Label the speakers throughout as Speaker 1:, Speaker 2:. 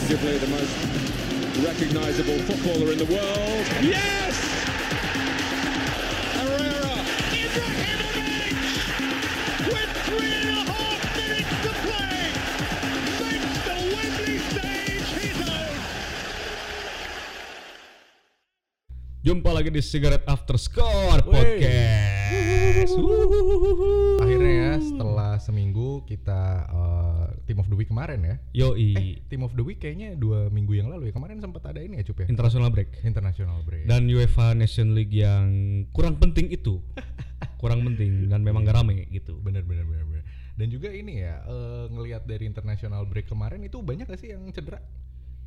Speaker 1: arguably the most recognizable footballer in the world. Yes! Herrera!
Speaker 2: Ibrahimovic, with three and a half minutes to play, makes the Wembley stage his own.
Speaker 3: Jumpa lagi di Cigarette After Score Podcast. Wuhuhuhuhuhu.
Speaker 4: Akhirnya ya
Speaker 3: Hmm.
Speaker 4: setelah seminggu kita eh, Team of the Week kemarin ya.
Speaker 3: Yoi,
Speaker 4: Team of the Week kayaknya dua minggu yang lalu ya. Kemarin sempat ada ini ya Cup ya.
Speaker 3: international break
Speaker 4: International break.
Speaker 3: dan UEFA Nation League yang kurang penting itu. kurang penting dan memang gak rame gitu.
Speaker 4: bener bener bener bener. Dan juga ini ya eh, ngelihat dari international break kemarin itu banyak gak sih yang cedera?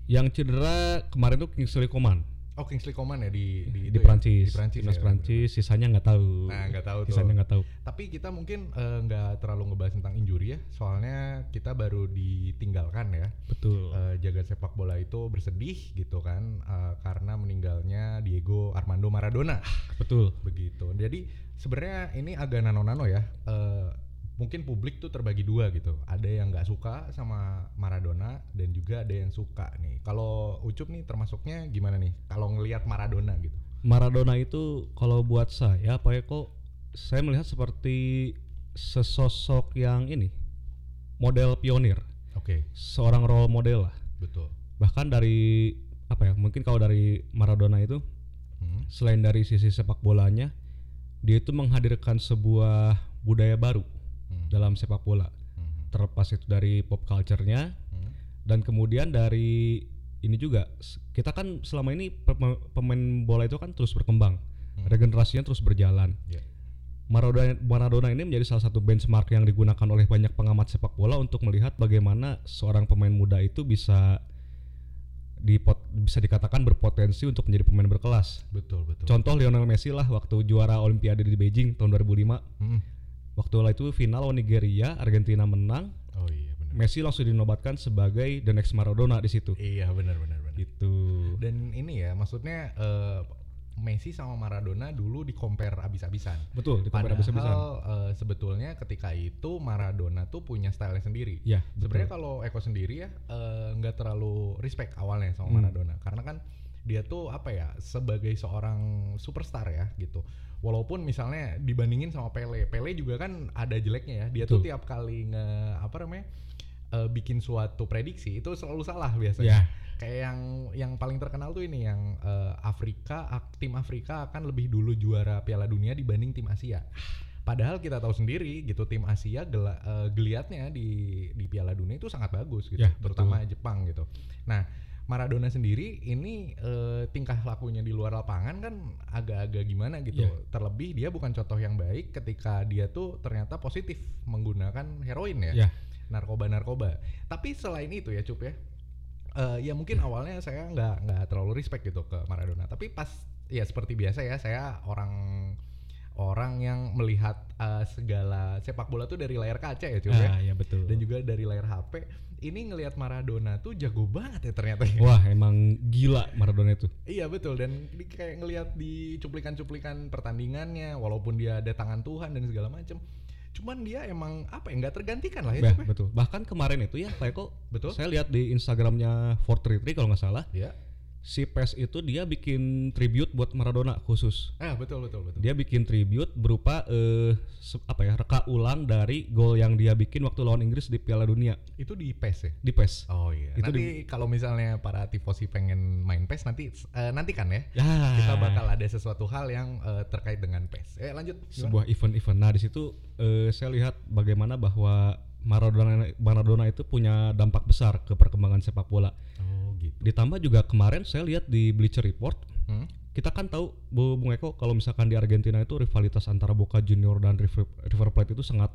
Speaker 3: Yang cedera kemarin tuh Kingsley Coman
Speaker 4: Oh Kingsley Coman ya di di,
Speaker 3: di,
Speaker 4: itu ya,
Speaker 3: Prancis.
Speaker 4: Di Prancis.
Speaker 3: Timnas
Speaker 4: ya.
Speaker 3: Prancis, sisanya nggak tahu.
Speaker 4: Nah, nggak tahu tuh.
Speaker 3: Sisanya nggak tahu.
Speaker 4: Tapi kita mungkin eh, nggak terlalu ngebahas tentang injury ya, soalnya kita baru ditinggalkan ya.
Speaker 3: Betul.
Speaker 4: eh, jagat sepak bola itu bersedih gitu kan eh, karena meninggalnya Diego Armando Maradona
Speaker 3: Betul.
Speaker 4: begitu. Jadi sebenarnya ini agak nano-nano ya. Eh, mungkin publik tuh terbagi dua gitu. Ada yang nggak suka sama Maradona dan juga ada yang suka nih. Kalau Ucup nih termasuknya gimana nih? Kalau ngelihat Maradona gitu.
Speaker 3: Maradona itu kalau buat saya Pak Eko saya melihat seperti sesosok yang ini model pionir
Speaker 4: Oke,
Speaker 3: seorang role model lah
Speaker 4: betul.
Speaker 3: bahkan dari apa ya mungkin kalau dari Maradona itu
Speaker 4: Hmm,
Speaker 3: selain dari sisi sepak bolanya dia itu menghadirkan sebuah budaya baru
Speaker 4: hmm,
Speaker 3: dalam sepak bola
Speaker 4: hmm,
Speaker 3: terlepas itu dari pop culture-nya
Speaker 4: hmm.
Speaker 3: dan kemudian dari ini juga s- kita kan selama ini pem- pemain bola itu kan terus berkembang
Speaker 4: Hmm.
Speaker 3: regenerasinya terus berjalan
Speaker 4: Ya.
Speaker 3: Maradona, Maradona ini menjadi salah satu benchmark yang digunakan oleh banyak pengamat sepak bola untuk melihat bagaimana seorang pemain muda itu bisa dipot, bisa dikatakan berpotensi untuk menjadi pemain berkelas.
Speaker 4: Betul, betul.
Speaker 3: Gitu. Contoh Lionel Messi lah waktu juara Olimpiade di Beijing tahun 2005.
Speaker 4: Hmm.
Speaker 3: Waktu itu final lawan Nigeria, Argentina menang.
Speaker 4: Oh iya benar.
Speaker 3: Messi langsung dinobatkan sebagai the next Maradona di situ.
Speaker 4: Iya benar benar benar.
Speaker 3: Gitu.
Speaker 4: Dan ini ya, maksudnya eh, Messi sama Maradona dulu di-compare abis-abisan.
Speaker 3: Betul, di
Speaker 4: Padahal
Speaker 3: habis-habisan.
Speaker 4: eh, sebetulnya ketika itu Maradona tuh punya style sendiri.
Speaker 3: Ya,
Speaker 4: Sebenarnya kalau Eko sendiri ya eh, nggak terlalu respect awalnya sama
Speaker 3: Hmm.
Speaker 4: Maradona karena kan dia tuh apa ya sebagai seorang superstar ya gitu. Walaupun misalnya dibandingin sama Pele, Pele juga kan ada jeleknya ya. Dia tuh
Speaker 3: Betul.
Speaker 4: tiap kali nge apa namanya eh, bikin suatu prediksi itu selalu salah biasanya
Speaker 3: Ya,
Speaker 4: kayak yang yang paling terkenal tuh ini yang eh, Afrika ak- tim Afrika akan lebih dulu juara Piala Dunia dibanding tim Asia. Padahal kita tahu sendiri gitu tim Asia gela- eh, geliatnya di di Piala Dunia itu sangat bagus gitu,
Speaker 3: Ya,
Speaker 4: terutama Jepang gitu. Nah, Maradona sendiri ini eh, tingkah lakunya di luar lapangan kan agak-agak gimana gitu.
Speaker 3: Ya.
Speaker 4: Terlebih dia bukan contoh yang baik ketika dia tuh ternyata positif menggunakan heroin ya
Speaker 3: ya.
Speaker 4: narkoba-narkoba. Tapi selain itu ya Cup ya, eh, ya mungkin awalnya saya nggak nggak terlalu respect gitu ke Maradona. Tapi pas ya seperti biasa ya, saya orang orang yang melihat eh, segala sepak bola tuh dari layar kaca ya Cup ya,
Speaker 3: Ah, ya betul.
Speaker 4: dan juga dari layar HP. Ini ngelihat Maradona tuh jago banget ya ternyata. ya.
Speaker 3: Wah, emang gila Maradona itu.
Speaker 4: Iya betul dan di- kayak ngelihat di cuplikan-cuplikan pertandingannya walaupun dia ada tangan Tuhan dan segala macem cuman dia emang apa ya nggak tergantikan lah ya
Speaker 3: Bah,
Speaker 4: Cup ya.
Speaker 3: betul. Bahkan kemarin itu ya Pak Eko,
Speaker 4: Betul.
Speaker 3: saya lihat di Instagramnya 433 kalau nggak salah,
Speaker 4: Iya.
Speaker 3: si PES itu dia bikin tribute buat Maradona khusus.
Speaker 4: Ah betul betul betul.
Speaker 3: Dia bikin tribute berupa eh, se- apa ya reka ulang dari gol yang dia bikin waktu lawan Inggris di Piala Dunia
Speaker 4: Itu di PES ya?
Speaker 3: di PES.
Speaker 4: Oh iya.
Speaker 3: Itu
Speaker 4: nanti kalau misalnya para tifosi pengen main PES nanti eh, nanti kan ya.
Speaker 3: Ya,
Speaker 4: Kita bakal ada sesuatu hal yang eh, terkait dengan PES. Eh lanjut. Gimana?
Speaker 3: sebuah event-event. Nah di situ eh, saya lihat bagaimana bahwa Maradona Maradona itu punya dampak besar ke perkembangan sepak bola.
Speaker 4: Oh gitu.
Speaker 3: Ditambah juga kemarin saya lihat di Bleacher Report
Speaker 4: Hmm?
Speaker 3: kita kan tahu Bu- Bung Eko kalau misalkan di Argentina itu rivalitas antara Boca Junior dan River, River Plate itu sangat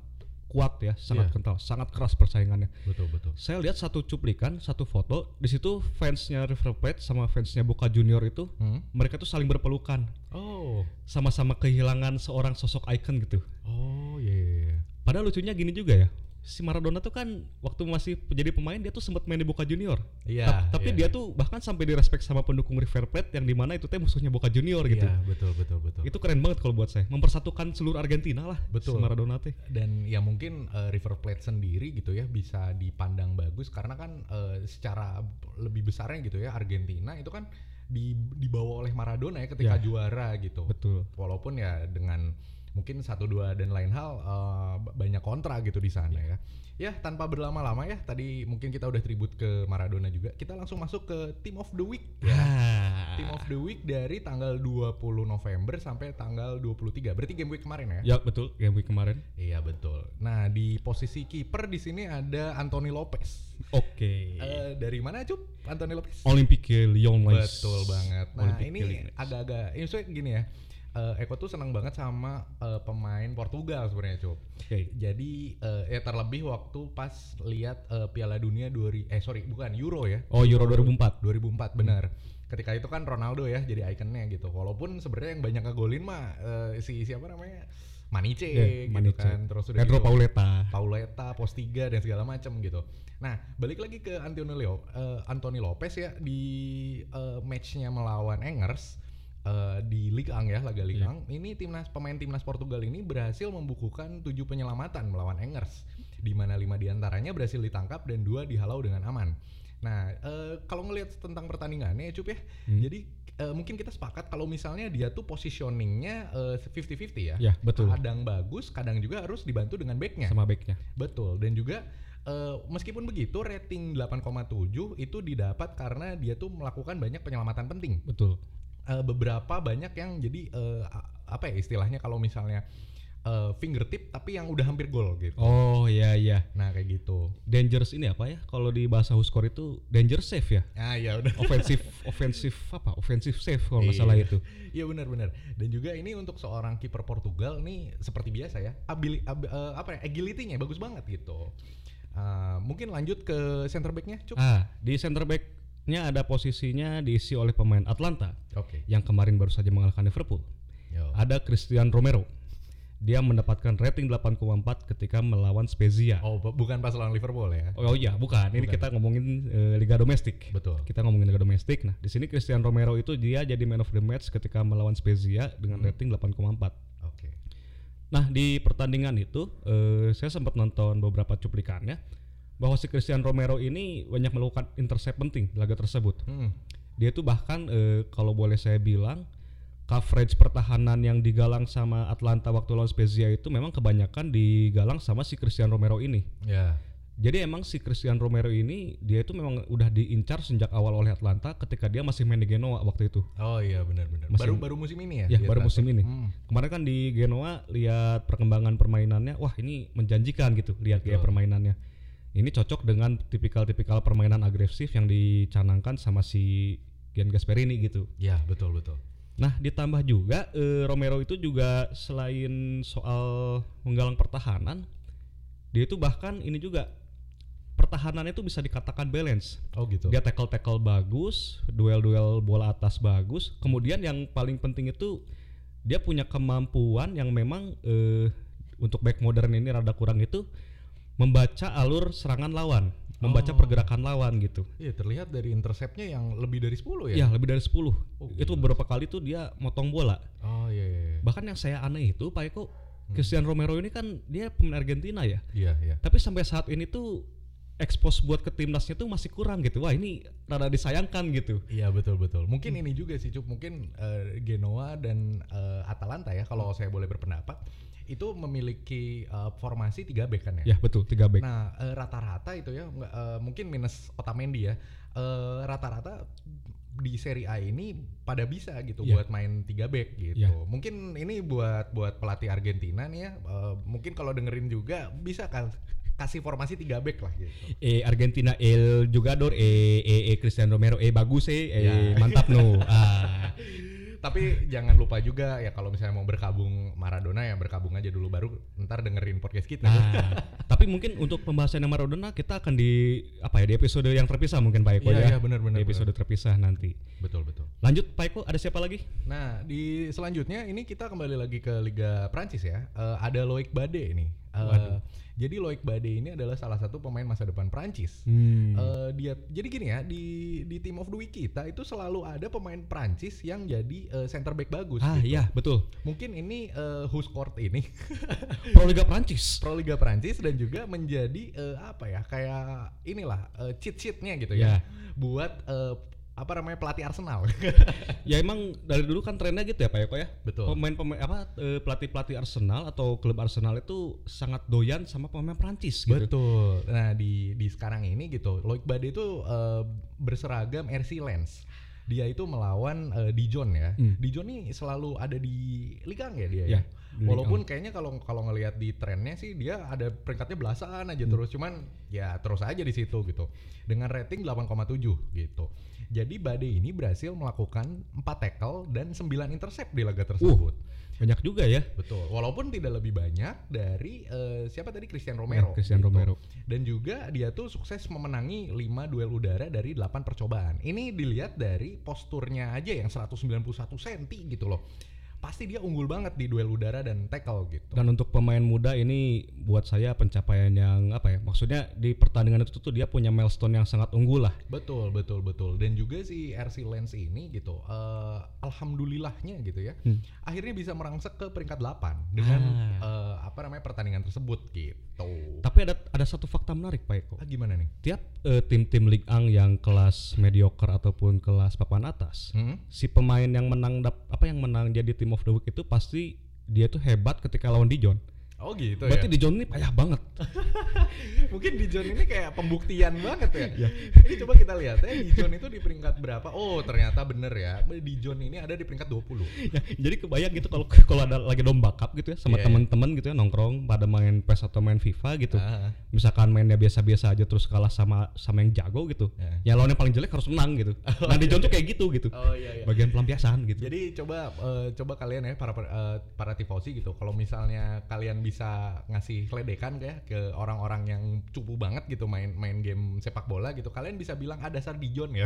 Speaker 3: kuat ya, sangat
Speaker 4: Iya.
Speaker 3: kental, sangat keras persaingannya.
Speaker 4: Betul betul.
Speaker 3: Saya lihat satu cuplikan, satu foto, di situ fansnya River Plate sama fansnya Boca Junior itu
Speaker 4: Hmm?
Speaker 3: mereka tuh saling berpelukan,
Speaker 4: Oh.
Speaker 3: sama-sama kehilangan seorang sosok ikon gitu.
Speaker 4: Oh iya. iya, iya.
Speaker 3: Padahal lucunya gini juga ya, si Maradona tuh kan waktu masih jadi pemain dia tuh sempat main di Boca Junior.
Speaker 4: Iya,
Speaker 3: Ta- tapi
Speaker 4: iya.
Speaker 3: dia tuh bahkan sampai direspek sama pendukung River Plate yang dimana itu teh musuhnya Boca Junior gitu.
Speaker 4: Iya, betul betul betul.
Speaker 3: Itu keren banget kalau buat saya. Mempersatukan seluruh Argentina lah
Speaker 4: Betul.
Speaker 3: si Maradona teh.
Speaker 4: dan ya mungkin eh, River Plate sendiri gitu ya bisa dipandang bagus karena kan eh, secara lebih besarnya gitu ya Argentina itu kan di- dibawa oleh Maradona ya ketika
Speaker 3: Ya.
Speaker 4: juara gitu.
Speaker 3: Betul.
Speaker 4: Walaupun ya dengan mungkin satu dua dan lain hal eh, b- banyak kontra gitu di sana ya. Ya tanpa berlama-lama ya tadi mungkin kita udah tribut ke Maradona juga. Kita langsung masuk ke Team of the Week ya.
Speaker 3: Ah.
Speaker 4: Team of the Week dari tanggal 20 November sampai tanggal 23. Berarti game week kemarin ya?
Speaker 3: Ya betul game week kemarin.
Speaker 4: Iya betul. Nah di posisi kiper di sini ada Anthony Lopez.
Speaker 3: Oke.
Speaker 4: Eh, dari mana cup Anthony Lopez?
Speaker 3: Olympique Lyon Lens.
Speaker 4: Betul banget. Nah
Speaker 3: Olympique
Speaker 4: ini
Speaker 3: Lyon.
Speaker 4: agak-agak, ini maksudnya gini ya. eh, Eko tuh seneng banget sama eh, pemain Portugal sebenarnya cup.
Speaker 3: Oke.
Speaker 4: Jadi eh, ya terlebih waktu pas lihat eh, Piala Dunia 2000 eh sorry bukan Euro ya.
Speaker 3: Oh Euro 2004.
Speaker 4: 2004 benar. Ketika itu kan Ronaldo ya jadi ikonnya gitu. Walaupun sebenarnya yang banyak ngegolin mah eh, si siapa namanya? Maniche
Speaker 3: Ya,
Speaker 4: gitu
Speaker 3: Maniche.
Speaker 4: kan. Terus udah
Speaker 3: Pedro
Speaker 4: gitu-
Speaker 3: Pauleta.
Speaker 4: Pauleta, Pos 3 dan segala macam gitu. Nah, balik lagi ke Antonio Leo, eh, Anthony Lopez ya di eh, matchnya melawan Engers eh, di Liga Ang ya, Laga Liga
Speaker 3: Iya.
Speaker 4: Ang. Ini timnas pemain timnas Portugal ini berhasil membukukan 7 penyelamatan melawan Engers di mana 5 diantaranya berhasil ditangkap dan dua dihalau dengan aman. Nah, eh, kalau ngelihat tentang pertandingannya ya Cup ya.
Speaker 3: Hmm.
Speaker 4: Jadi eh, mungkin kita sepakat kalau misalnya dia tuh positioningnya eh, 50-50 ya.
Speaker 3: Ya, betul.
Speaker 4: Kadang bagus, kadang juga harus dibantu dengan backnya.
Speaker 3: Sama backnya.
Speaker 4: Betul, dan juga eh, meskipun begitu rating 8,7 itu didapat karena dia tuh melakukan banyak penyelamatan penting.
Speaker 3: Betul.
Speaker 4: Eh, beberapa banyak yang jadi eh, a- apa ya istilahnya kalau misalnya eh, fingertip tapi yang udah hampir gol gitu.
Speaker 3: Oh iya iya.
Speaker 4: Nah, kayak gitu.
Speaker 3: Dangerous ini apa ya? Kalau di bahasa Huskor itu danger save ya.
Speaker 4: Ah, ya udah.
Speaker 3: Offensive offensive apa? Offensive save kalau nggak salah
Speaker 4: Iya.
Speaker 3: itu.
Speaker 4: Iya benar-benar. Dan juga ini untuk seorang kiper Portugal nih seperti biasa ya, abili, ab- eh, apa ya, agility-nya bagus banget gitu. Eh, mungkin lanjut ke center back-nya, Cuk.
Speaker 3: Ah, di center back-nya ada posisinya diisi oleh pemain Atlanta
Speaker 4: Oke.
Speaker 3: yang kemarin baru saja mengalahkan Liverpool.
Speaker 4: Yo.
Speaker 3: Ada Christian Romero. Dia mendapatkan rating 8,4 ketika melawan Spezia.
Speaker 4: Oh, bu- bukan pas lawan Liverpool ya.
Speaker 3: Oh, iya, bukan. Ini
Speaker 4: Bukan.
Speaker 3: kita ngomongin eh, liga domestik.
Speaker 4: Betul.
Speaker 3: Kita ngomongin liga domestik. Nah, di sini Christian Romero itu dia jadi man of the match ketika melawan Spezia
Speaker 4: Hmm.
Speaker 3: dengan rating 8,4.
Speaker 4: Oke.
Speaker 3: Nah di pertandingan itu eh, saya sempat nonton beberapa cuplikannya bahwa si Christian Romero ini banyak melakukan intercept penting di laga tersebut.
Speaker 4: Hmm.
Speaker 3: Dia tuh bahkan eh, kalau boleh saya bilang coverage pertahanan yang digalang sama Atlanta waktu lawan Spezia itu memang kebanyakan digalang sama si Christian Romero ini.
Speaker 4: Ya.
Speaker 3: Jadi emang si Christian Romero ini dia itu memang udah diincar sejak awal oleh Atlanta ketika dia masih main di Genoa waktu itu.
Speaker 4: Oh iya benar-benar. Baru
Speaker 3: Masih-
Speaker 4: baru musim ini ya?
Speaker 3: Ya
Speaker 4: dia
Speaker 3: baru
Speaker 4: transfer?
Speaker 3: musim ini.
Speaker 4: Hmm.
Speaker 3: Kemarin kan di Genoa lihat perkembangan permainannya, wah ini menjanjikan gitu. Lihat gaya
Speaker 4: Betul.
Speaker 3: permainannya. Ini cocok dengan tipikal-tipikal permainan agresif yang dicanangkan sama si Gian Gasperini gitu.
Speaker 4: Ya betul betul.
Speaker 3: Nah ditambah juga eh, Romero itu juga selain soal menggalang pertahanan, dia itu bahkan ini juga pertahanannya itu bisa dikatakan balance
Speaker 4: Oh gitu.
Speaker 3: dia tackle tackle bagus duel-duel bola atas bagus kemudian yang paling penting itu dia punya kemampuan yang memang eh, untuk back modern ini rada kurang itu membaca alur serangan lawan membaca
Speaker 4: Oh.
Speaker 3: pergerakan lawan gitu
Speaker 4: Iya terlihat dari interceptnya yang lebih dari 10 ya.
Speaker 3: ya lebih dari 10 itu
Speaker 4: Oh, gila.
Speaker 3: beberapa kali tuh dia motong bola
Speaker 4: Oh iya iya. iya.
Speaker 3: bahkan yang saya aneh itu Pak Eko
Speaker 4: Hmm.
Speaker 3: Christian Romero ini kan dia pemain Argentina ya
Speaker 4: Iya iya.
Speaker 3: tapi sampai saat ini tuh expose buat ke timnasnya tuh masih kurang gitu wah ini rada disayangkan gitu
Speaker 4: Iya betul betul. Mungkin ini juga sih Cup, mungkin eh, Genoa dan eh, Atalanta ya kalau saya boleh berpendapat itu memiliki eh, formasi 3 back kan ya.
Speaker 3: ya betul tiga back
Speaker 4: Nah, eh, rata-rata itu ya nggak, eh, mungkin minus Otamendi ya. eh, rata-rata di Serie A ini pada bisa gitu
Speaker 3: Iya.
Speaker 4: buat main tiga back gitu.
Speaker 3: Iya.
Speaker 4: Mungkin ini buat buat pelatih Argentina nih ya. eh, mungkin kalau dengerin juga bisa kan kasih formasi tiga back lah gitu.
Speaker 3: eh Argentina el jugador eh eh, eh Cristiano Romero eh bagus eh, eh,
Speaker 4: Ya.
Speaker 3: mantap no ah
Speaker 4: Tapi jangan lupa juga ya kalau misalnya mau berkabung Maradona ya berkabung aja dulu baru ntar dengerin podcast kita.
Speaker 3: nah tapi mungkin untuk pembahasan yang Maradona kita akan di apa ya di episode yang terpisah mungkin Pak Eko
Speaker 4: Iya,
Speaker 3: ya
Speaker 4: iya, benar, benar,
Speaker 3: di episode terpisah nanti
Speaker 4: Betul betul.
Speaker 3: lanjut Pak Eko ada siapa lagi
Speaker 4: Nah, di selanjutnya ini kita kembali lagi ke Liga Prancis ya. Eh, ada Loic Bade ini. Eh,
Speaker 3: Waduh.
Speaker 4: jadi Loic Badé ini adalah salah satu pemain masa depan Prancis.
Speaker 3: Hmm.
Speaker 4: Eh, dia jadi gini ya di di team of the week kita itu selalu ada pemain Prancis yang jadi eh, center back bagus.
Speaker 3: ah
Speaker 4: gitu.
Speaker 3: iya betul.
Speaker 4: Mungkin ini eh, who's court ini
Speaker 3: Pro Liga Prancis.
Speaker 4: Pro Liga Prancis dan juga menjadi eh, apa ya kayak inilah eh, cheat sheetnya gitu ya
Speaker 3: Ya.
Speaker 4: buat eh, apa namanya pelatih Arsenal.
Speaker 3: Ya emang dari dulu kan trennya gitu ya Pak Eko ya.
Speaker 4: Betul.
Speaker 3: Pemain-pemain apa eh, pelatih-pelatih Arsenal atau klub Arsenal itu sangat doyan sama pemain Prancis gitu.
Speaker 4: Betul. Nah di di sekarang ini gitu, Loic Bade itu eh, berseragam RC Lens. Dia itu melawan eh, Dijon ya.
Speaker 3: Hmm.
Speaker 4: Dijon nih selalu ada di Ligang ya dia.
Speaker 3: Ya,
Speaker 4: ya?
Speaker 3: di
Speaker 4: Walaupun kayaknya kalau kalau ngelihat di trennya sih dia ada peringkatnya belasan aja
Speaker 3: Hmm.
Speaker 4: terus, cuman ya terus aja di situ gitu. Dengan rating 8,7 gitu. Jadi Bade ini berhasil melakukan 4 tackle dan 9 intercept di laga tersebut.
Speaker 3: Banyak juga ya.
Speaker 4: Betul. Walaupun tidak lebih banyak dari eh, siapa tadi Christian Romero.
Speaker 3: Ya, Christian
Speaker 4: gitu.
Speaker 3: Romero.
Speaker 4: Dan juga dia tuh sukses memenangi 5 duel udara dari 8 percobaan. Ini dilihat dari posturnya aja yang 191 cm gitu loh. Pasti dia unggul banget di duel udara dan tackle gitu.
Speaker 3: Dan untuk pemain muda ini buat saya pencapaian yang apa ya? Maksudnya di pertandingan itu tuh dia punya milestone yang sangat unggul lah.
Speaker 4: Betul, betul, betul. Dan juga si RC Lens ini gitu, eh, alhamdulillahnya gitu ya.
Speaker 3: Hmm.
Speaker 4: Akhirnya bisa merangsek ke peringkat 8 dengan
Speaker 3: Ah.
Speaker 4: eh, apa namanya pertandingan tersebut gitu.
Speaker 3: Tapi ada ada satu fakta menarik Pak Eko.
Speaker 4: Ah, gimana nih?
Speaker 3: Tiap eh, tim-tim Ligue 1 yang kelas mediocre ataupun kelas papan atas,
Speaker 4: Hmm?
Speaker 3: si pemain yang menang dap- apa yang menang jadi team of the week itu pasti dia tuh hebat ketika lawan Dijon.
Speaker 4: Oh gitu ya.
Speaker 3: Berarti Dijon ini payah banget.
Speaker 4: Mungkin di John ini kayak pembuktian banget ya. Ini coba kita lihat ya, di John itu di peringkat berapa? Oh, ternyata bener ya. Di John ini ada di peringkat 20.
Speaker 3: Ya, jadi kebayang gitu kalau kalau ada lagi domba cup gitu ya
Speaker 4: Iya,
Speaker 3: sama
Speaker 4: iya.
Speaker 3: teman-teman gitu ya nongkrong pada main PES atau main FIFA gitu.
Speaker 4: Ah,
Speaker 3: Misalkan mainnya biasa-biasa aja terus kalah sama sama yang jago gitu.
Speaker 4: Iya.
Speaker 3: Ya lawan yang paling jelek harus menang gitu. Nah, Dijon tuh kayak gitu gitu.
Speaker 4: Oh iya iya.
Speaker 3: Bagian pelampiasan gitu.
Speaker 4: Jadi coba eh, coba kalian ya para para, eh, para tifosi gitu. Kalau misalnya kalian bisa ngasih ledekan kayak ke orang-orang yang cupu banget gitu main main game sepak bola gitu, kalian bisa bilang ada dasar di John ya.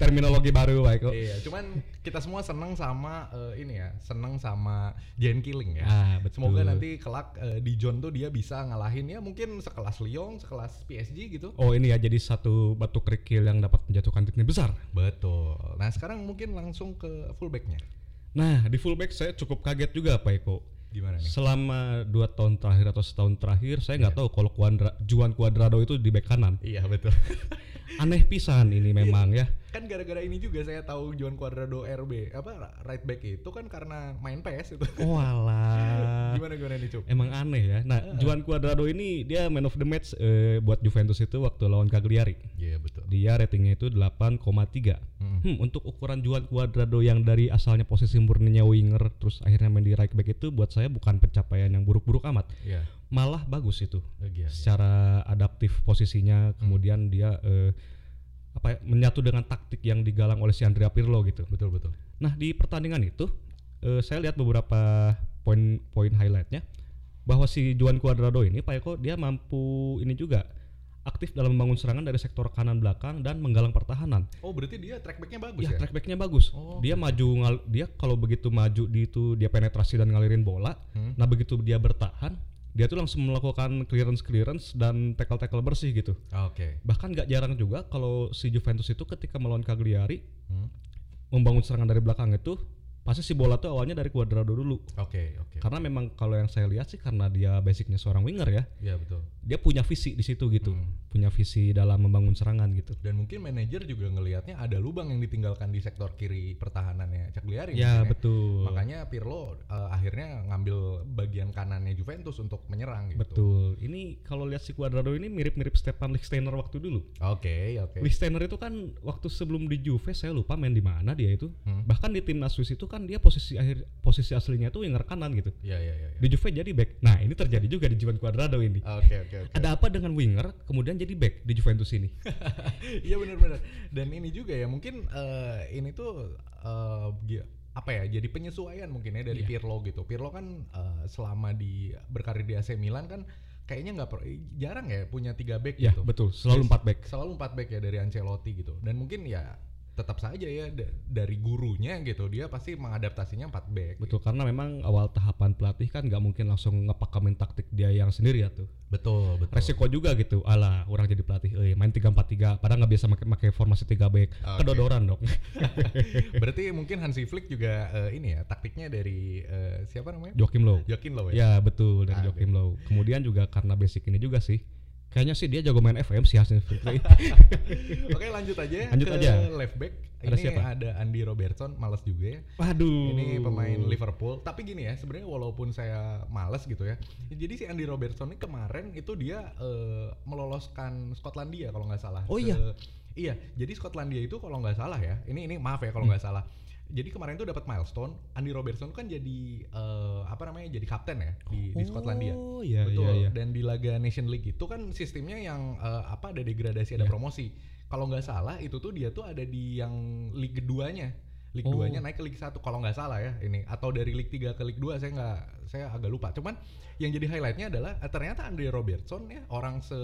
Speaker 3: terminologi baru Pak Eko.
Speaker 4: Iya, cuman kita semua seneng sama eh, ini ya, seneng sama Jane Killing ya.
Speaker 3: Ah, betul.
Speaker 4: Semoga nanti kelak eh, di John tuh dia bisa ngalahin ya mungkin sekelas Lyon, sekelas PSG gitu.
Speaker 3: Oh ini ya jadi satu batu kerikil yang dapat menjatuhkan tim besar.
Speaker 4: Betul. Nah sekarang mungkin langsung ke fullbacknya.
Speaker 3: Nah di fullback saya cukup kaget juga Pak Eko.
Speaker 4: Gimana nih?
Speaker 3: Selama dua tahun terakhir atau setahun terakhir saya nggak tahu kalau Kuandra, Juan Cuadrado itu di bek kanan.
Speaker 4: Iya betul.
Speaker 3: Aneh pisan ini memang ya.
Speaker 4: kan gara-gara ini juga saya tahu Juan Cuadrado RB apa right back itu kan karena main PS itu.
Speaker 3: Oh, Walah.
Speaker 4: gimana gimana nih Cuk?
Speaker 3: Emang aneh ya. Nah, Juan Cuadrado ini dia man of the match eh, buat Juventus itu waktu lawan Cagliari.
Speaker 4: Iya betul.
Speaker 3: Dia ratingnya itu 8,3.
Speaker 4: Mm.
Speaker 3: Hmm, untuk ukuran Juan Cuadrado yang dari asalnya posisi murninya winger terus akhirnya main di right back itu buat saya bukan pencapaian yang buruk-buruk amat.
Speaker 4: Iya.
Speaker 3: Malah bagus itu.
Speaker 4: Iya. Hmm.
Speaker 3: Secara adaptif posisinya kemudian dia eh, apa ya, menyatu dengan taktik yang digalang oleh si Andrea Pirlo gitu.
Speaker 4: Betul betul.
Speaker 3: Nah, di pertandingan itu eh, saya lihat beberapa poin-poin highlightnya bahwa si Juan Cuadrado ini Pak Eko dia mampu ini juga aktif dalam membangun serangan dari sektor kanan belakang dan menggalang pertahanan.
Speaker 4: Oh berarti dia track backnya bagus
Speaker 3: Ya,
Speaker 4: ya?
Speaker 3: track backnya bagus.
Speaker 4: Oh,
Speaker 3: dia maju ngal- dia kalau begitu maju di itu dia penetrasi dan ngalirin bola.
Speaker 4: Hmm.
Speaker 3: Nah, begitu dia bertahan, dia tuh langsung melakukan clearance clearance dan tackle tackle bersih gitu.
Speaker 4: Ah, Oke.
Speaker 3: Bahkan gak jarang juga kalau si Juventus itu ketika melawan Cagliari
Speaker 4: Hmm.
Speaker 3: membangun serangan dari belakang itu pasti si bola tuh awalnya dari Cuadrado dulu.
Speaker 4: Oke oke.
Speaker 3: Karena memang kalau yang saya lihat sih karena dia basicnya seorang winger ya,
Speaker 4: Iya betul.
Speaker 3: dia punya visi di situ gitu,
Speaker 4: Hmm.
Speaker 3: punya visi dalam membangun serangan gitu.
Speaker 4: Dan mungkin manajer juga ngelihatnya ada lubang yang ditinggalkan di sektor kiri pertahanannya Cagliari.
Speaker 3: Ya
Speaker 4: mungkin Iya
Speaker 3: betul,
Speaker 4: Makanya gitu. Pirlo eh, akhirnya ngambil bagian kanannya Juventus untuk menyerang gitu.
Speaker 3: betul. Ini kalau lihat si Cuadrado ini mirip-mirip Stefan Lichtsteiner waktu dulu.
Speaker 4: Oke, oke.
Speaker 3: Lichtsteiner itu kan waktu sebelum di Juve saya lupa main di mana dia itu.
Speaker 4: Hmm.
Speaker 3: Bahkan di timnas Swiss itu kan dia posisi akhir posisi aslinya tuh winger kanan gitu.
Speaker 4: Iya, iya, iya. iya.
Speaker 3: Di Juve jadi back. Nah ini terjadi juga di Juan Cuadrado ini.
Speaker 4: Oke, oke, oke.
Speaker 3: Ada apa dengan winger kemudian jadi back di Juventus ini?
Speaker 4: Iya benar-benar. Dan ini juga ya mungkin eh, ini tuh eh, gi- apa ya? Jadi penyesuaian mungkin ya dari
Speaker 3: Iya.
Speaker 4: Pirlo gitu. Pirlo kan eh, selama di berkarir di AC Milan kan kayaknya nggak per- jarang ya punya tiga back
Speaker 3: ya
Speaker 4: gitu.
Speaker 3: betul, selalu empat back.
Speaker 4: Selalu empat back ya dari Ancelotti gitu. Dan mungkin ya tetap saja ya da- dari gurunya gitu dia pasti mengadaptasinya 4 back.
Speaker 3: Betul karena memang awal tahapan pelatih kan nggak mungkin langsung ngepakamin taktik dia yang sendiri ya tuh.
Speaker 4: Betul, betul.
Speaker 3: Resiko juga gitu. Alah, orang jadi pelatih eh main 3-4-3 padahal nggak biasa make, make formasi 3 back.
Speaker 4: Ah, Oke.
Speaker 3: Kedodoran dong.
Speaker 4: Berarti mungkin Hansi Flick juga eh, ini ya taktiknya dari eh, siapa namanya?
Speaker 3: Joakim Low.
Speaker 4: Joakim Low ya.
Speaker 3: Ya betul dari
Speaker 4: Ah,
Speaker 3: Joakim Low. Kemudian juga karena basic ini juga sih. Kayaknya sih dia jago main FM sih Hasan Fitri.
Speaker 4: Oke, lanjut aja
Speaker 3: Lanjut
Speaker 4: ke
Speaker 3: aja.
Speaker 4: left back.
Speaker 3: Ada
Speaker 4: ini
Speaker 3: siapa?
Speaker 4: ada Andy Robertson, malas juga ya.
Speaker 3: Waduh.
Speaker 4: Ini pemain Liverpool. Tapi gini ya, sebenarnya walaupun saya males gitu ya. Jadi si Andy Robertson ini kemarin itu dia eh, meloloskan Skotlandia kalau nggak salah.
Speaker 3: Oh
Speaker 4: Ke-
Speaker 3: iya.
Speaker 4: Iya. Jadi Skotlandia itu kalau nggak salah ya. Ini ini maaf ya kalau nggak
Speaker 3: Hmm.
Speaker 4: salah. Jadi kemarin itu dapat milestone. Andy Robertson kan jadi eh, apa namanya? Jadi kapten ya di, di Skotlandia.
Speaker 3: Oh iya
Speaker 4: Betul.
Speaker 3: iya iya.
Speaker 4: Dan di laga Nation League itu kan sistemnya yang eh, apa ada degradasi ada
Speaker 3: Iya.
Speaker 4: promosi. Kalau nggak salah itu tuh dia tuh ada di yang league keduanya. League
Speaker 3: Oh.
Speaker 4: duanya naik ke League 1 kalau nggak salah ya ini atau dari League 3 ke League 2 saya nggak saya agak lupa. Cuman yang jadi highlightnya adalah eh, ternyata Andre Robertson ya orang se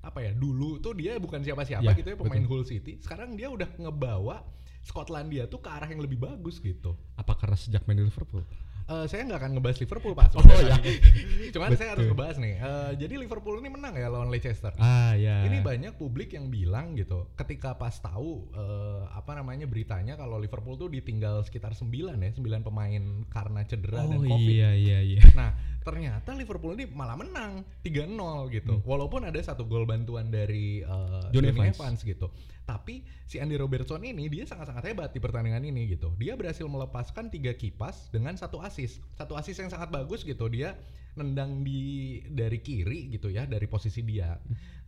Speaker 4: apa ya dulu tuh dia bukan siapa-siapa
Speaker 3: Iya,
Speaker 4: gitu ya pemain Hull City. Sekarang dia udah ngebawa Skotlandia tuh ke arah yang lebih bagus gitu.
Speaker 3: Apa karena sejak main di Liverpool?
Speaker 4: Eh, saya nggak akan ngebahas Liverpool pak.
Speaker 3: Oh,
Speaker 4: sebenarnya
Speaker 3: iya.
Speaker 4: tadi. Cuman saya harus
Speaker 3: Betul.
Speaker 4: ngebahas nih. Eh, jadi Liverpool ini menang ya lawan Leicester.
Speaker 3: Ah ya.
Speaker 4: Ini banyak publik yang bilang gitu. Ketika pas tahu eh, apa namanya beritanya kalau Liverpool tuh ditinggal sekitar 9 ya, 9 pemain karena cedera dan
Speaker 3: Oh
Speaker 4: Covid.
Speaker 3: iya iya iya.
Speaker 4: Nah, ternyata Liverpool ini malah menang 3-0 gitu. Walaupun ada satu gol bantuan dari eh,
Speaker 3: Johnny
Speaker 4: Johnny,
Speaker 3: Evans.
Speaker 4: Evans. gitu. Tapi si Andy Robertson ini dia sangat-sangat hebat di pertandingan ini gitu. Dia berhasil melepaskan tiga kipas dengan satu assist. Satu assist yang sangat bagus gitu. Dia nendang di dari kiri gitu ya, dari posisi dia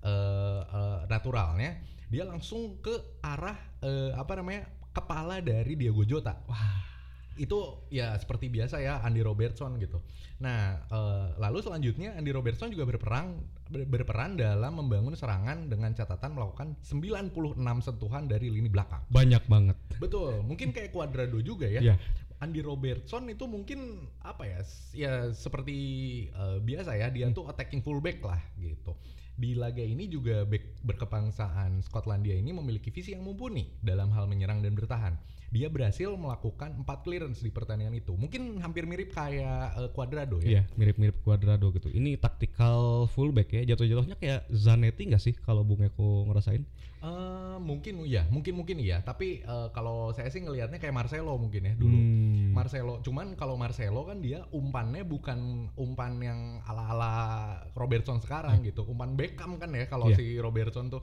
Speaker 4: eh eh, naturalnya dia langsung ke arah eh, apa namanya? kepala dari Diego Jota. Wah itu ya seperti biasa ya Andy Robertson gitu. Nah, eh, lalu selanjutnya Andy Robertson juga berperang ber- berperan dalam membangun serangan dengan catatan melakukan 96 sentuhan dari lini belakang.
Speaker 3: Banyak banget.
Speaker 4: Betul, mungkin kayak Cuadrado juga ya.
Speaker 3: Iya.
Speaker 4: Andy Robertson itu mungkin apa ya? s- Ya seperti eh, biasa ya,
Speaker 3: Hmm.
Speaker 4: dia tuh attacking fullback lah gitu. Di laga ini juga back berkebangsaan Skotlandia ini memiliki visi yang mumpuni dalam hal menyerang dan bertahan. Dia berhasil melakukan 4 clearance di pertandingan itu. Mungkin hampir mirip kayak eh, Cuadrado ya.
Speaker 3: Iya, mirip-mirip Cuadrado gitu. Ini taktikal fullback ya. Jatuh-jatuhnya kayak Zanetti nggak sih kalau Bung Eko ngerasain?
Speaker 4: Eh, mungkin ya, mungkin mungkin iya. Tapi eh, kalau saya sih ngelihatnya kayak Marcelo mungkin ya dulu.
Speaker 3: Hmm.
Speaker 4: Marcelo, cuman kalau Marcelo kan dia umpannya bukan umpan yang ala-ala Robertson sekarang gitu, umpan Beckham kan ya kalau
Speaker 3: Iya.
Speaker 4: si Robertson tuh.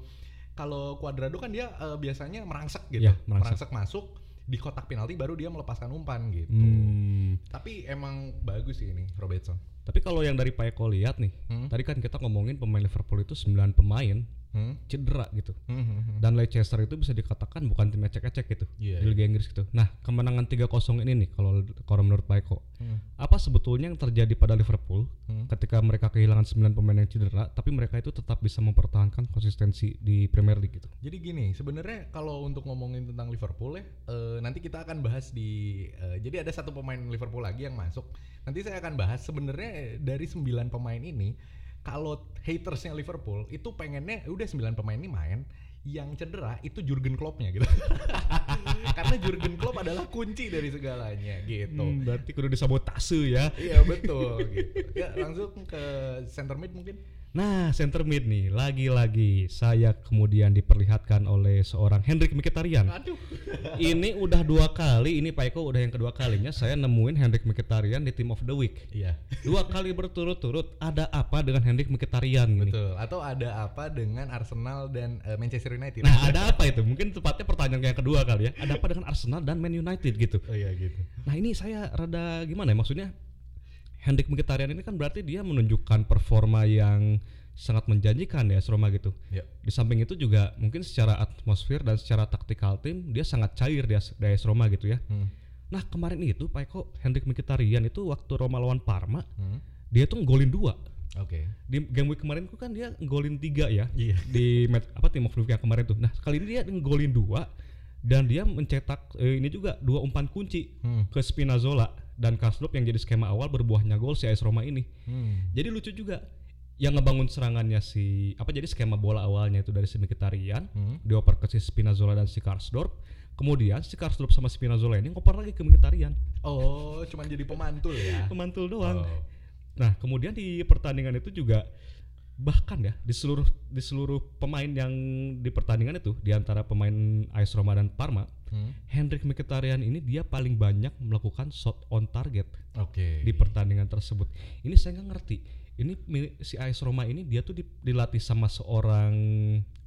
Speaker 4: Kalau Cuadrado kan dia eh, biasanya merangsek gitu,
Speaker 3: Iya, merangsek.
Speaker 4: merangsek. masuk di kotak penalti baru dia melepaskan umpan gitu.
Speaker 3: Hmm.
Speaker 4: Tapi emang bagus sih ini Robertson.
Speaker 3: Tapi kalau yang dari Pak Eko lihat nih,
Speaker 4: Hmm.
Speaker 3: tadi kan kita ngomongin pemain Liverpool itu 9 pemain
Speaker 4: Hmm?
Speaker 3: cedera gitu.
Speaker 4: Hmm, hmm, hmm.
Speaker 3: Dan Leicester itu bisa dikatakan bukan tim ecek-ecek gitu
Speaker 4: Iya,
Speaker 3: di Liga Inggris gitu. Nah, kemenangan 3-0 ini nih kalau kalau menurut Pak Eko,
Speaker 4: Hmm.
Speaker 3: apa sebetulnya yang terjadi pada Liverpool
Speaker 4: Hmm.
Speaker 3: ketika mereka kehilangan 9 pemain yang cedera tapi mereka itu tetap bisa mempertahankan konsistensi di Premier League gitu.
Speaker 4: Jadi gini, sebenarnya kalau untuk ngomongin tentang Liverpool ya, eh, nanti kita akan bahas di eh, jadi ada satu pemain Liverpool lagi yang masuk. Nanti saya akan bahas sebenarnya dari 9 pemain ini kalau hatersnya Liverpool itu pengennya "Eh, udah 9 pemain ini main yang cedera itu Jurgen Kloppnya gitu. Karena Jurgen Klopp adalah kunci dari segalanya gitu.
Speaker 3: Hmm, berarti kudu disabotase ya.
Speaker 4: Iya betul gitu. Ya langsung ke center mid mungkin.
Speaker 3: Nah, center mid nih lagi-lagi saya kemudian diperlihatkan oleh seorang Hendrik Mkhitaryan.
Speaker 4: Aduh.
Speaker 3: ini udah dua kali, ini Pak Eko udah yang kedua kalinya saya nemuin Hendrik Mkhitaryan di Team of the Week.
Speaker 4: Iya.
Speaker 3: Dua kali berturut-turut, ada apa dengan Hendrik Mkhitaryan ini?
Speaker 4: Betul. Atau ada apa dengan Arsenal dan eh, Manchester United?
Speaker 3: Nah, ada apa itu? Mungkin tepatnya pertanyaan yang kedua kali ya. Ada apa dengan Arsenal dan Man United gitu?
Speaker 4: Oh iya gitu.
Speaker 3: Nah, ini saya rada gimana ya maksudnya? Hendrik Mkhitaryan ini kan berarti dia menunjukkan performa yang sangat menjanjikan ya Seroma gitu.
Speaker 4: Ya.
Speaker 3: Di samping itu juga mungkin secara atmosfer dan secara taktikal tim dia sangat cair di AS di AS Roma gitu ya.
Speaker 4: Hmm.
Speaker 3: Nah kemarin itu Pak Eko Hendrik Mkhitaryan itu waktu Roma lawan Parma
Speaker 4: Hmm.
Speaker 3: dia tuh nggolin dua
Speaker 4: Oke.
Speaker 3: di game week kemarin tuh kan dia nggolin tiga ya
Speaker 4: Iya.
Speaker 3: di match apa tim of the week yang kemarin tuh. Nah kali ini dia nggolin dua dan dia mencetak eh, ini juga dua umpan kunci
Speaker 4: Hmm.
Speaker 3: ke
Speaker 4: hmm,
Speaker 3: Spinazzola dan Kaslop yang jadi skema awal berbuahnya gol si AS Roma ini. Jadi lucu juga yang ngebangun serangannya si apa jadi skema bola awalnya itu dari si Mkhitaryan
Speaker 4: Hmm.
Speaker 3: dioper ke si Spinazzola dan si Karsdorp kemudian si Karsdorp sama Spinazzola ini ngoper lagi ke Mkhitaryan
Speaker 4: Oh, cuman jadi pemantul ya.
Speaker 3: pemantul doang
Speaker 4: Oh.
Speaker 3: nah kemudian di pertandingan itu juga bahkan ya di seluruh di seluruh pemain yang di pertandingan itu di antara pemain AS Roma dan Parma
Speaker 4: Hmm.
Speaker 3: Hendrik Mkhitaryan ini dia paling banyak melakukan shot on target
Speaker 4: Oke.
Speaker 3: di pertandingan tersebut. Ini saya nggak ngerti. Ini mi- si AS Roma ini dia tuh di- dilatih sama seorang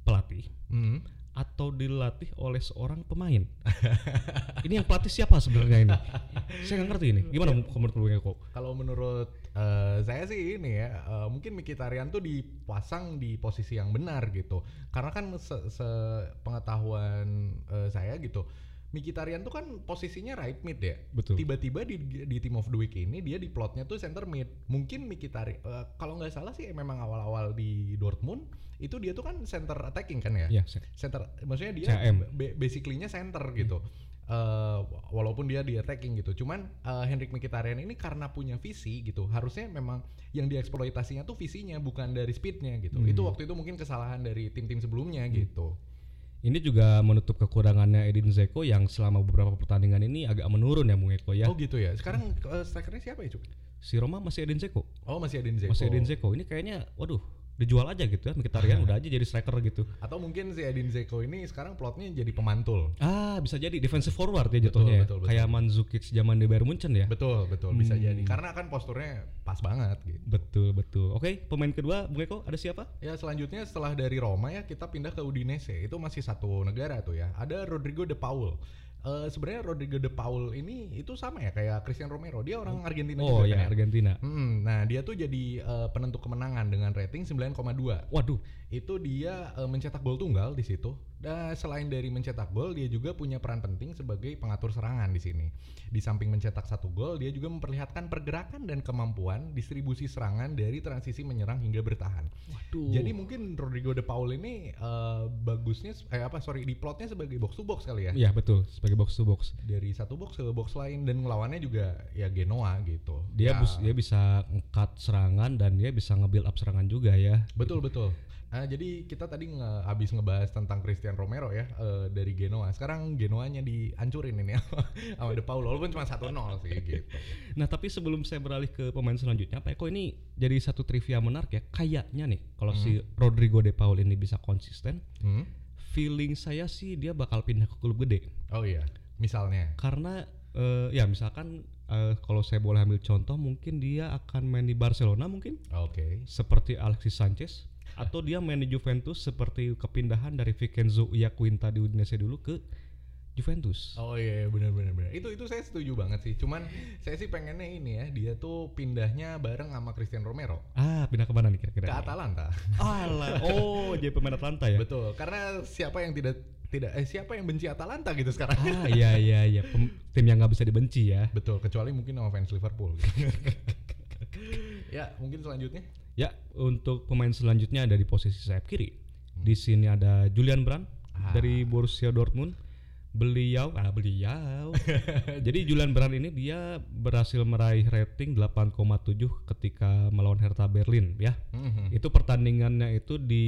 Speaker 3: pelatih
Speaker 4: Hmm.
Speaker 3: atau dilatih oleh seorang pemain. ini yang pelatih siapa sebenarnya ini? saya nggak ngerti ini. Gimana
Speaker 4: Iya.
Speaker 3: menurut lu ya kok?
Speaker 4: Kalau menurut eh, saya sih ini ya, eh, mungkin Mkhitaryan tuh dipasang di posisi yang benar gitu. Karena kan se, se- pengetahuan eh, saya gitu, Mkhitaryan tuh kan posisinya right mid ya.
Speaker 3: Betul.
Speaker 4: Tiba-tiba di, di team of the week ini dia di plotnya tuh center mid. Mungkin Mkhitaryan, eh, kalau nggak salah sih memang awal-awal di Dortmund itu dia tuh kan center attacking kan ya?
Speaker 3: Ya, saya-
Speaker 4: center maksudnya dia
Speaker 3: CM.
Speaker 4: ba- basically-nya center gitu
Speaker 3: Hmm.
Speaker 4: Eh, walaupun dia di attacking gitu cuman eh, Hendrik Mkhitaryan ini karena punya visi gitu harusnya memang yang dieksploitasinya tuh visinya bukan dari speednya gitu
Speaker 3: Hmm.
Speaker 4: itu waktu itu mungkin kesalahan dari tim-tim sebelumnya gitu
Speaker 3: ini juga menutup kekurangannya Edin Zeko yang selama beberapa pertandingan ini agak menurun ya Bung Eko ya.
Speaker 4: oh gitu ya sekarang eh, strikernya siapa ya Cuk?
Speaker 3: Si Roma masih Edin Zeko.
Speaker 4: oh masih ada Zeko
Speaker 3: Masih Edin Zeko. Ini kayaknya waduh, dijual aja gitu ya Mkhitaryan udah aja jadi striker gitu.
Speaker 4: atau mungkin si Edin Zeko ini sekarang plotnya jadi pemantul
Speaker 3: Ah, bisa jadi defensive forward ya jatuhnya. ya.
Speaker 4: betul, betul.
Speaker 3: Kayak Mandzukic zaman di Bayern Munchen ya.
Speaker 4: betul betul bisa
Speaker 3: Hmm.
Speaker 4: jadi karena kan posturnya pas banget gitu
Speaker 3: Betul, betul. Oke, pemain kedua Bung Eko ada siapa?
Speaker 4: Ya selanjutnya setelah dari Roma ya kita pindah ke Udinese itu masih satu negara tuh ya ada Rodrigo de Paul. Eh Sebenarnya Rodrigo de Paul ini itu sama ya kayak Christian Romero dia orang Argentina
Speaker 3: oh,
Speaker 4: juga kan
Speaker 3: ya Argentina.
Speaker 4: Hmm, nah dia tuh jadi eh, penentu kemenangan dengan rating 9,2.
Speaker 3: Waduh,
Speaker 4: Itu dia eh, mencetak gol tunggal di situ. Dan selain dari mencetak gol dia juga punya peran penting sebagai pengatur serangan di sini. Di samping mencetak satu gol dia juga memperlihatkan pergerakan dan kemampuan distribusi serangan dari transisi menyerang hingga bertahan.
Speaker 3: waduh.
Speaker 4: Jadi mungkin Rodrigo de Paul ini eh, bagusnya eh apa sorry di plotnya sebagai box to box kali ya.
Speaker 3: ya betul, sebagai box to box.
Speaker 4: Dari satu box ke box lain dan ngelawannya juga ya Genoa gitu.
Speaker 3: Dia
Speaker 4: Ya,
Speaker 3: bus- dia bisa ngekat serangan dan dia bisa nge-build up serangan juga ya.
Speaker 4: betul betul. Ah, jadi kita tadi nge habis ngebahas tentang Christian Romero ya eh, dari Genoa. Sekarang Genoanya dihancurin ini ya sama De Paul walaupun cuma 1-0 sih gitu.
Speaker 3: Nah, tapi sebelum saya beralih ke pemain selanjutnya, Pak Eko ini jadi satu trivia menarik ya. Kayaknya nih kalau si Rodrigo De Paul ini bisa konsisten,
Speaker 4: Hmm?
Speaker 3: feeling saya sih dia bakal pindah ke klub gede.
Speaker 4: Oh iya, misalnya.
Speaker 3: karena eh, ya misalkan eh, kalau saya boleh ambil contoh mungkin dia akan main di Barcelona mungkin
Speaker 4: Oke.
Speaker 3: seperti Alexis Sanchez atau dia main di Juventus seperti kepindahan dari Vincenzo Iaquinta di Udinese dulu ke Juventus.
Speaker 4: Oh iya benar benar benar. Itu itu saya setuju banget sih. Cuman saya sih pengennya ini ya, dia tuh pindahnya bareng sama Christian Romero
Speaker 3: Ah, pindah ke mana nih kira-kira?
Speaker 4: ke Atalanta.
Speaker 3: Alah, oh, jadi pemain Atalanta ya.
Speaker 4: Betul. Karena siapa yang tidak tidak eh siapa yang benci Atalanta gitu sekarang?
Speaker 3: Ah, iya iya iya, Pem- tim yang nggak bisa dibenci ya.
Speaker 4: Betul, kecuali mungkin sama fans Liverpool. gitu. ya, mungkin selanjutnya.
Speaker 3: Ya, untuk pemain selanjutnya ada di posisi sayap kiri. Di sini ada Julian Brand
Speaker 4: Hmm. Ah.
Speaker 3: dari Borussia Dortmund. Beliau, ah beliau. Jadi Julian Brand ini dia berhasil meraih rating 8,7 ketika melawan Hertha Berlin ya.
Speaker 4: Mhm.
Speaker 3: Itu pertandingannya itu di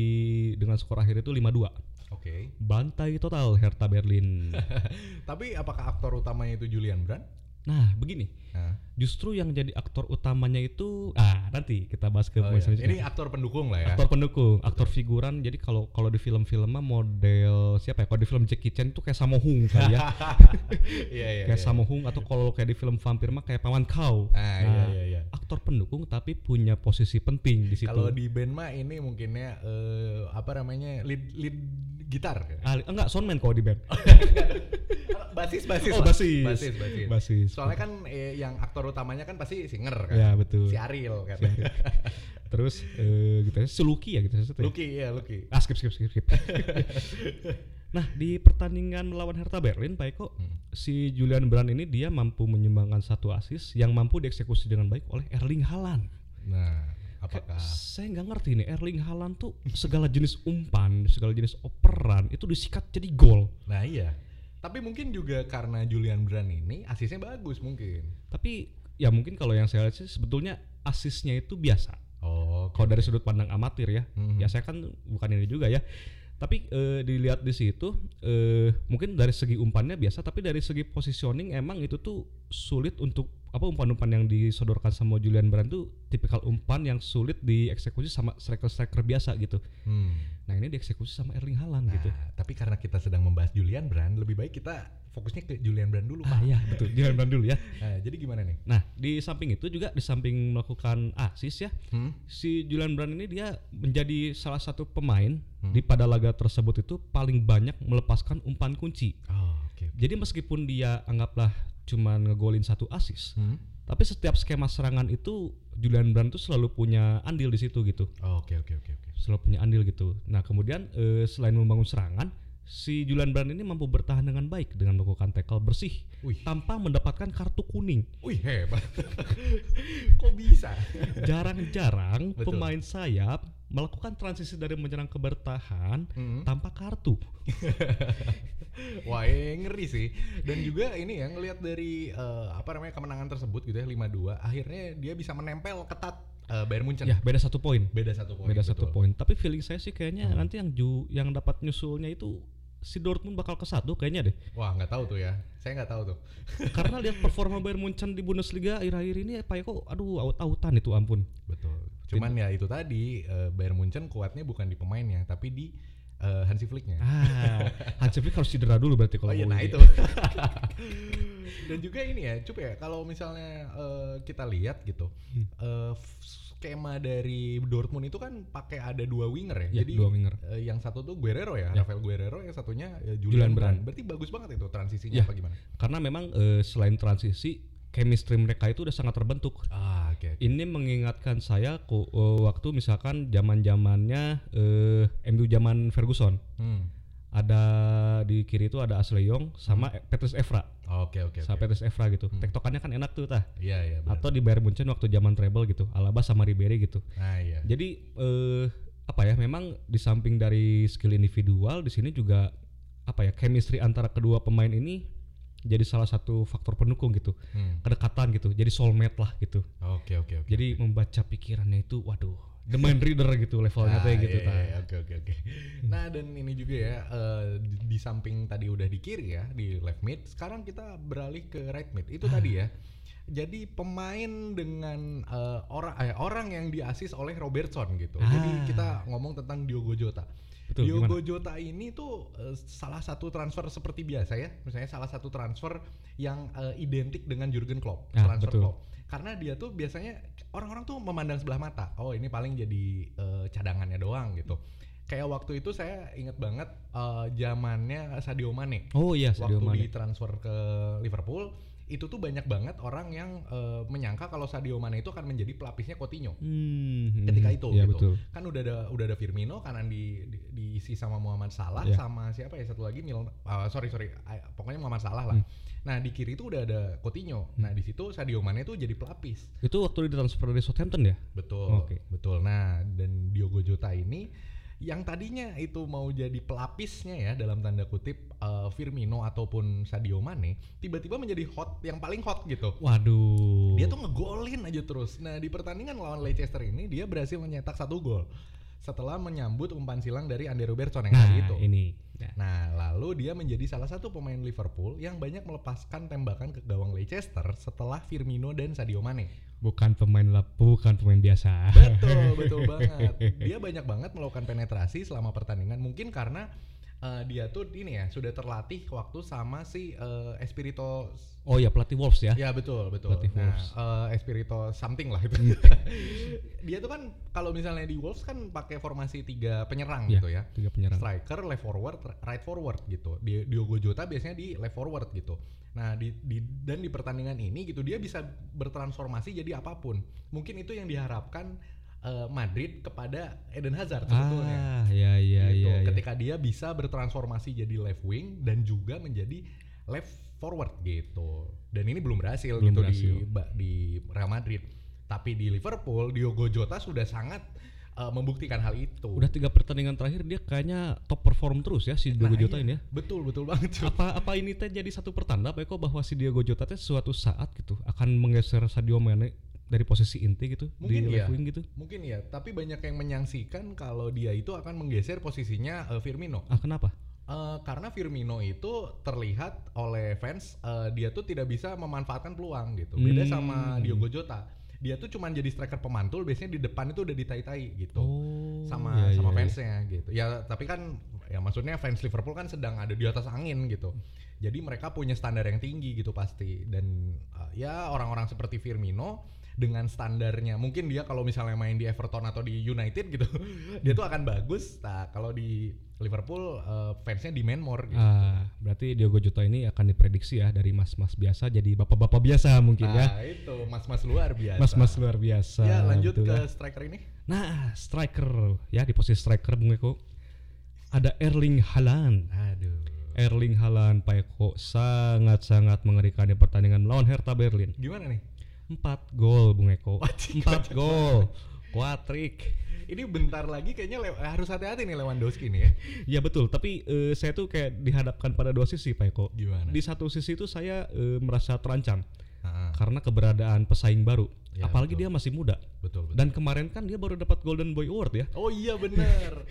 Speaker 3: dengan skor akhir itu 5-2.
Speaker 4: Oke.
Speaker 3: Bantai total Hertha Berlin.
Speaker 4: Tapi apakah aktor utamanya itu Julian Brand?
Speaker 3: nah, begini.
Speaker 4: Nah.
Speaker 3: Justru yang jadi aktor utamanya itu ah nanti kita bahas ke
Speaker 4: Oh,
Speaker 3: pemain
Speaker 4: iya.
Speaker 3: selanjutnya.
Speaker 4: Ini aktor pendukung lah ya.
Speaker 3: aktor pendukung, aktor figuran. Jadi kalau kalau di film-film mah model siapa ya? Kalau di film Jackie Chan itu kayak Samohung kali ya.
Speaker 4: Iya, iya.
Speaker 3: kayak
Speaker 4: iya.
Speaker 3: Samohung atau kalau kayak di film vampir mah kayak Paman Kau.
Speaker 4: Ah, iya, iya, iya.
Speaker 3: Aktor pendukung tapi punya posisi penting di situ.
Speaker 4: Kalau di band mah ini mungkinnya eh, apa namanya? lead lead gitar.
Speaker 3: Ah, li- enggak soundman kalau di band.
Speaker 4: basis basis.
Speaker 3: Oh,
Speaker 4: lah.
Speaker 3: basis.
Speaker 4: Basis basis.
Speaker 3: Basis.
Speaker 4: Soalnya kan eh, yang aktor utamanya kan pasti singer kan.
Speaker 3: ya betul.
Speaker 4: Si Ariel kan.
Speaker 3: Terus eh gitu si Lucky ya gitu
Speaker 4: Lucky ya Lucky.
Speaker 3: Ah, skip skip skip skip. nah, di pertandingan melawan Hertha Berlin, Pak Eko,
Speaker 4: Hmm.
Speaker 3: si Julian Brand ini dia mampu menyumbangkan satu assist yang mampu dieksekusi dengan baik oleh Erling Haaland.
Speaker 4: Nah, apakah
Speaker 3: Saya nggak ngerti nih, Erling Haaland tuh segala jenis umpan, segala jenis operan itu disikat jadi gol.
Speaker 4: Nah, iya. Tapi mungkin juga karena Julian Brand ini asisnya bagus mungkin.
Speaker 3: Tapi ya mungkin kalau yang saya lihat sih sebetulnya asisnya itu biasa.
Speaker 4: Oh, Oh,
Speaker 3: Kalau dari sudut pandang amatir ya,
Speaker 4: Mhm.
Speaker 3: ya saya kan bukan ini juga ya. Tapi eh, dilihat di situ eh, mungkin dari segi umpannya biasa, tapi dari segi positioning emang itu tuh sulit untuk apa umpan-umpan yang disodorkan sama Julian Brand tuh tipikal umpan yang sulit dieksekusi sama striker-striker biasa gitu.
Speaker 4: Hmm.
Speaker 3: Nah ini dieksekusi sama Erling Haaland
Speaker 4: Nah,
Speaker 3: gitu.
Speaker 4: tapi karena kita sedang membahas Julian Brand, lebih baik kita fokusnya ke Julian Brand dulu,
Speaker 3: Ah
Speaker 4: Pak.
Speaker 3: ya betul Julian Brand dulu ya.
Speaker 4: Nah, jadi gimana nih?
Speaker 3: Nah di samping itu juga di samping melakukan asis ya,
Speaker 4: Hmm?
Speaker 3: si Julian Brand ini dia menjadi salah satu pemain di pada laga tersebut itu paling banyak melepaskan umpan kunci.
Speaker 4: Oh, oke.
Speaker 3: Jadi meskipun dia anggaplah cuman ngegolin satu asis,
Speaker 4: Hmm?
Speaker 3: tapi setiap skema serangan itu Julian Brand tuh selalu punya andil di situ gitu,
Speaker 4: Oh, Oke, oke, oke, oke.
Speaker 3: selalu punya andil gitu. Nah kemudian eh, selain membangun serangan, si Julian Brand ini mampu bertahan dengan baik dengan melakukan tackle bersih
Speaker 4: Wih.
Speaker 3: tanpa mendapatkan kartu kuning.
Speaker 4: Wih, hebat. Kok bisa?
Speaker 3: Jarang-jarang
Speaker 4: Betul.
Speaker 3: pemain sayap melakukan transisi dari menyerang ke bertahan
Speaker 4: Hmm.
Speaker 3: tanpa kartu.
Speaker 4: Wah, eh, ngeri sih. Dan juga ini ya ngelihat dari eh, apa namanya kemenangan tersebut gitu ya 5-2, akhirnya dia bisa menempel ketat eh, Bayern Munchen.
Speaker 3: Ya beda satu poin.
Speaker 4: Beda satu poin. gitu
Speaker 3: beda
Speaker 4: betul. Hmm.
Speaker 3: satu poin. Tapi feeling saya sih kayaknya nanti yang ju yang dapat nyusulnya itu si Dortmund bakal kesatu kayaknya deh.
Speaker 4: Wah, nggak tahu tuh ya. Saya nggak tahu tuh.
Speaker 3: Karena lihat performa Bayern Munchen di Bundesliga akhir-akhir ini ya Payeko aduh out-outan itu ampun.
Speaker 4: Betul. Cuman ya itu tadi eh, Bayern Munchen kuatnya bukan di pemainnya, tapi di eh, Hansi Flick-nya.
Speaker 3: Ah, Hansi Flick harus cedera dulu berarti kalau
Speaker 4: Oh iya,
Speaker 3: mau
Speaker 4: nah
Speaker 3: ini.
Speaker 4: itu. Dan juga ini ya, cup ya. Kalau misalnya eh, kita lihat gitu, eh, f- skema dari Dortmund itu kan pakai ada dua winger ya.
Speaker 3: Ya,
Speaker 4: Jadi
Speaker 3: dua winger.
Speaker 4: eh, yang satu tuh Guerrero ya,
Speaker 3: Ya.
Speaker 4: Rafael Guerrero, yang satunya eh,
Speaker 3: Julian
Speaker 4: Julian, Iya.
Speaker 3: Brand.
Speaker 4: Brand. Berarti bagus banget itu transisinya
Speaker 3: Ya.
Speaker 4: apa gimana?
Speaker 3: Karena memang eh, selain transisi, chemistry mereka itu udah sangat terbentuk.
Speaker 4: Ah, oke. oke.
Speaker 3: Ini mengingatkan saya ku- eh, waktu misalkan zaman-zamannya eh, MU zaman Ferguson.
Speaker 4: Hmm.
Speaker 3: Ada di kiri itu ada Ashley Young sama Petrus Evra.
Speaker 4: Oke, Hmm. oke.
Speaker 3: sama
Speaker 4: oke.
Speaker 3: Petrus Evra gitu. Tektokannya kan enak tuh tah.
Speaker 4: Iya, iya. benar.
Speaker 3: Atau di Bayern Munchen waktu zaman treble gitu, Alaba sama Ribery gitu.
Speaker 4: Nah, iya.
Speaker 3: Jadi eh, apa ya? Memang di samping dari skill individual, di sini juga apa ya? Chemistry antara kedua pemain ini jadi salah satu faktor pendukung gitu.
Speaker 4: Hmm.
Speaker 3: Kedekatan gitu. Jadi soulmate lah gitu.
Speaker 4: Oke, oke, oke.
Speaker 3: Jadi membaca pikirannya itu waduh, the mind reader gitu levelnya teh
Speaker 4: Ah,
Speaker 3: gitu
Speaker 4: iya,
Speaker 3: tah.
Speaker 4: iya, Oke oke oke. Nah dan ini juga ya eh, di, di samping tadi udah di kiri ya di left mid, sekarang kita beralih ke right mid. Itu tadi ya. Jadi pemain dengan eh, orang eh, orang yang diasis oleh Robertson gitu. Jadi
Speaker 3: Ah.
Speaker 4: kita ngomong tentang Diogo Jota.
Speaker 3: Betul,
Speaker 4: Diogo Jota ini tuh eh, salah satu transfer seperti biasa ya. Misalnya salah satu transfer yang eh, identik dengan Jurgen Klopp,
Speaker 3: Ah,
Speaker 4: transfer
Speaker 3: betul.
Speaker 4: Klopp. Karena dia tuh biasanya orang-orang tuh memandang sebelah mata. Oh, ini paling jadi eh, cadangannya doang gitu. Kayak waktu itu saya inget banget eh, zamannya Sadio Mane
Speaker 3: Oh iya, Sadio
Speaker 4: waktu
Speaker 3: Mane.
Speaker 4: ditransfer ke Liverpool itu tuh banyak banget orang yang eh, menyangka kalau Sadio Mane itu akan menjadi pelapisnya Coutinho
Speaker 3: Hmm,
Speaker 4: ketika itu
Speaker 3: ya,
Speaker 4: gitu.
Speaker 3: betul.
Speaker 4: Kan udah ada udah ada Firmino kanan di, di- diisi sama Muhammad Salah
Speaker 3: Ya.
Speaker 4: sama siapa ya satu lagi Milner ah, sorry sorry ah, pokoknya Muhammad Salah lah. Nah, di kiri itu udah ada Coutinho. Nah, di situ Sadio Mane tuh jadi pelapis.
Speaker 3: Itu waktu ditransfer dari Southampton ya?
Speaker 4: Betul.
Speaker 3: Oke.
Speaker 4: Betul. Nah, dan Diogo Jota ini yang tadinya itu mau jadi pelapisnya ya dalam tanda kutip eh, Firmino ataupun Sadio Mane tiba-tiba menjadi hot yang paling hot gitu.
Speaker 3: Waduh.
Speaker 4: Dia tuh ngegolin aja terus. Nah, di pertandingan lawan Leicester ini dia berhasil mencetak satu gol setelah menyambut umpan silang dari Andre Robertson yang
Speaker 3: nah,
Speaker 4: tadi itu.
Speaker 3: ini. Ya.
Speaker 4: Nah, lalu dia menjadi salah satu pemain Liverpool yang banyak melepaskan tembakan ke gawang Leicester setelah Firmino dan Sadio Mane.
Speaker 3: bukan pemain lap bukan pemain biasa
Speaker 4: Betul, betul banget. Dia banyak banget melakukan penetrasi selama pertandingan. Mungkin karena eh, dia tuh ini ya sudah terlatih waktu sama si eh, Espirito.
Speaker 3: oh ya pelatih Wolves ya
Speaker 4: Ya betul, betul.
Speaker 3: Pelatih
Speaker 4: Nah,
Speaker 3: Wolves. Iya.
Speaker 4: eh, Espirito something lah itu. dia tuh kan kalau misalnya di Wolves kan pakai formasi tiga penyerang gitu ya.
Speaker 3: tiga Iya, penyerang
Speaker 4: Striker, left forward, right forward gitu. Di- Diogo Jota biasanya di left forward gitu. Nah, di, di- dan di pertandingan ini gitu dia bisa bertransformasi jadi apapun. Mungkin itu yang diharapkan eh, Madrid kepada Eden Hazard sebetulnya.
Speaker 3: ah ya ya
Speaker 4: Gitu.
Speaker 3: ya, ya.
Speaker 4: Ketika dia bisa bertransformasi jadi left wing dan juga menjadi left forward gitu. Dan ini belum berhasil
Speaker 3: Belum
Speaker 4: gitu
Speaker 3: berhasil.
Speaker 4: di ba- di Real Madrid. Tapi di Liverpool Diogo Jota sudah sangat eh, membuktikan hal itu.
Speaker 3: udah tiga pertandingan terakhir dia kayaknya top perform terus ya si Diogo
Speaker 4: Nah,
Speaker 3: Jota
Speaker 4: iya.
Speaker 3: ini ya
Speaker 4: Betul, betul banget. cuy.
Speaker 3: apa apa ini teh jadi satu pertanda Pak Eko bahwa si Diogo Jota teh suatu saat gitu akan menggeser Sadio Mane dari posisi inti gitu
Speaker 4: Mungkin
Speaker 3: di
Speaker 4: iya.
Speaker 3: left wing gitu?
Speaker 4: Mungkin ya, tapi banyak yang menyaksikan kalau dia itu akan menggeser posisinya eh, Firmino.
Speaker 3: Ah kenapa?
Speaker 4: Eh, karena Firmino itu terlihat oleh fans eh, dia tuh tidak bisa memanfaatkan peluang gitu. Beda
Speaker 3: Hmm.
Speaker 4: sama Diogo Jota. Dia tuh cuman jadi striker pemantul, biasanya di depan itu udah ditai-tai gitu.
Speaker 3: Oh,
Speaker 4: sama
Speaker 3: iya,
Speaker 4: sama
Speaker 3: iya, iya.
Speaker 4: fansnya gitu ya tapi kan ya maksudnya fans Liverpool kan sedang ada di atas angin gitu jadi mereka punya standar yang tinggi gitu pasti dan uh, ya orang-orang seperti Firmino dengan standarnya mungkin dia kalau misalnya main di Everton atau di United gitu dia tuh akan bagus nah kalau di Liverpool uh, fansnya demand more gitu
Speaker 3: Ah, berarti Diogo Jota ini akan diprediksi ya dari mas-mas biasa jadi bapak-bapak biasa mungkin ya.
Speaker 4: nah itu mas-mas luar biasa
Speaker 3: Mas-mas luar biasa.
Speaker 4: ya lanjut
Speaker 3: betul
Speaker 4: ke
Speaker 3: ya.
Speaker 4: striker ini
Speaker 3: Nah, striker ya di posisi striker Bung Eko ada Erling Haaland.
Speaker 4: aduh
Speaker 3: Erling Haaland Pak Eko sangat-sangat mengerikan di pertandingan melawan Hertha Berlin.
Speaker 4: gimana nih
Speaker 3: 4 gol Bung Eko. 4 gol. Kuatrik.
Speaker 4: ini bentar lagi kayaknya lew- harus hati-hati nih Lewandowski nih ya
Speaker 3: Ya betul, tapi eh, saya tuh kayak dihadapkan pada dua sisi Pak Eko.
Speaker 4: Gimana?
Speaker 3: Di satu sisi itu saya eh, merasa terancam
Speaker 4: Ah,
Speaker 3: karena keberadaan pesaing baru.
Speaker 4: Ya,
Speaker 3: Apalagi
Speaker 4: betul.
Speaker 3: dia masih muda.
Speaker 4: betul betul
Speaker 3: Dan kemarin kan dia baru dapat Golden Boy Award ya.
Speaker 4: Oh iya benar.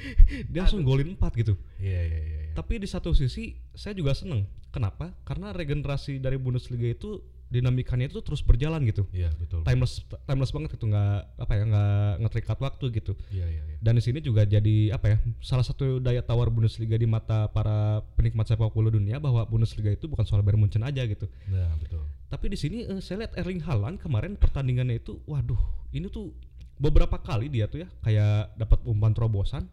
Speaker 3: Dia langsung golin 4 gitu.
Speaker 4: Iya iya iya. iya.
Speaker 3: Tapi di satu sisi saya juga seneng. Kenapa? Karena regenerasi dari Bundesliga itu dinamikanya itu terus berjalan gitu.
Speaker 4: Iya betul.
Speaker 3: Timeless timeless banget itu nggak apa ya nggak ngeterikat waktu gitu.
Speaker 4: Iya iya iya.
Speaker 3: Dan di sini juga jadi apa ya salah satu daya tawar Bundesliga di mata para penikmat sepak bola dunia bahwa Bundesliga itu bukan soal Bayern Munchen aja gitu.
Speaker 4: Nah, betul.
Speaker 3: Tapi di sini eh, saya lihat Erling Haaland kemarin pertandingannya itu waduh ini tuh beberapa kali dia tuh ya kayak dapat umpan terobosan.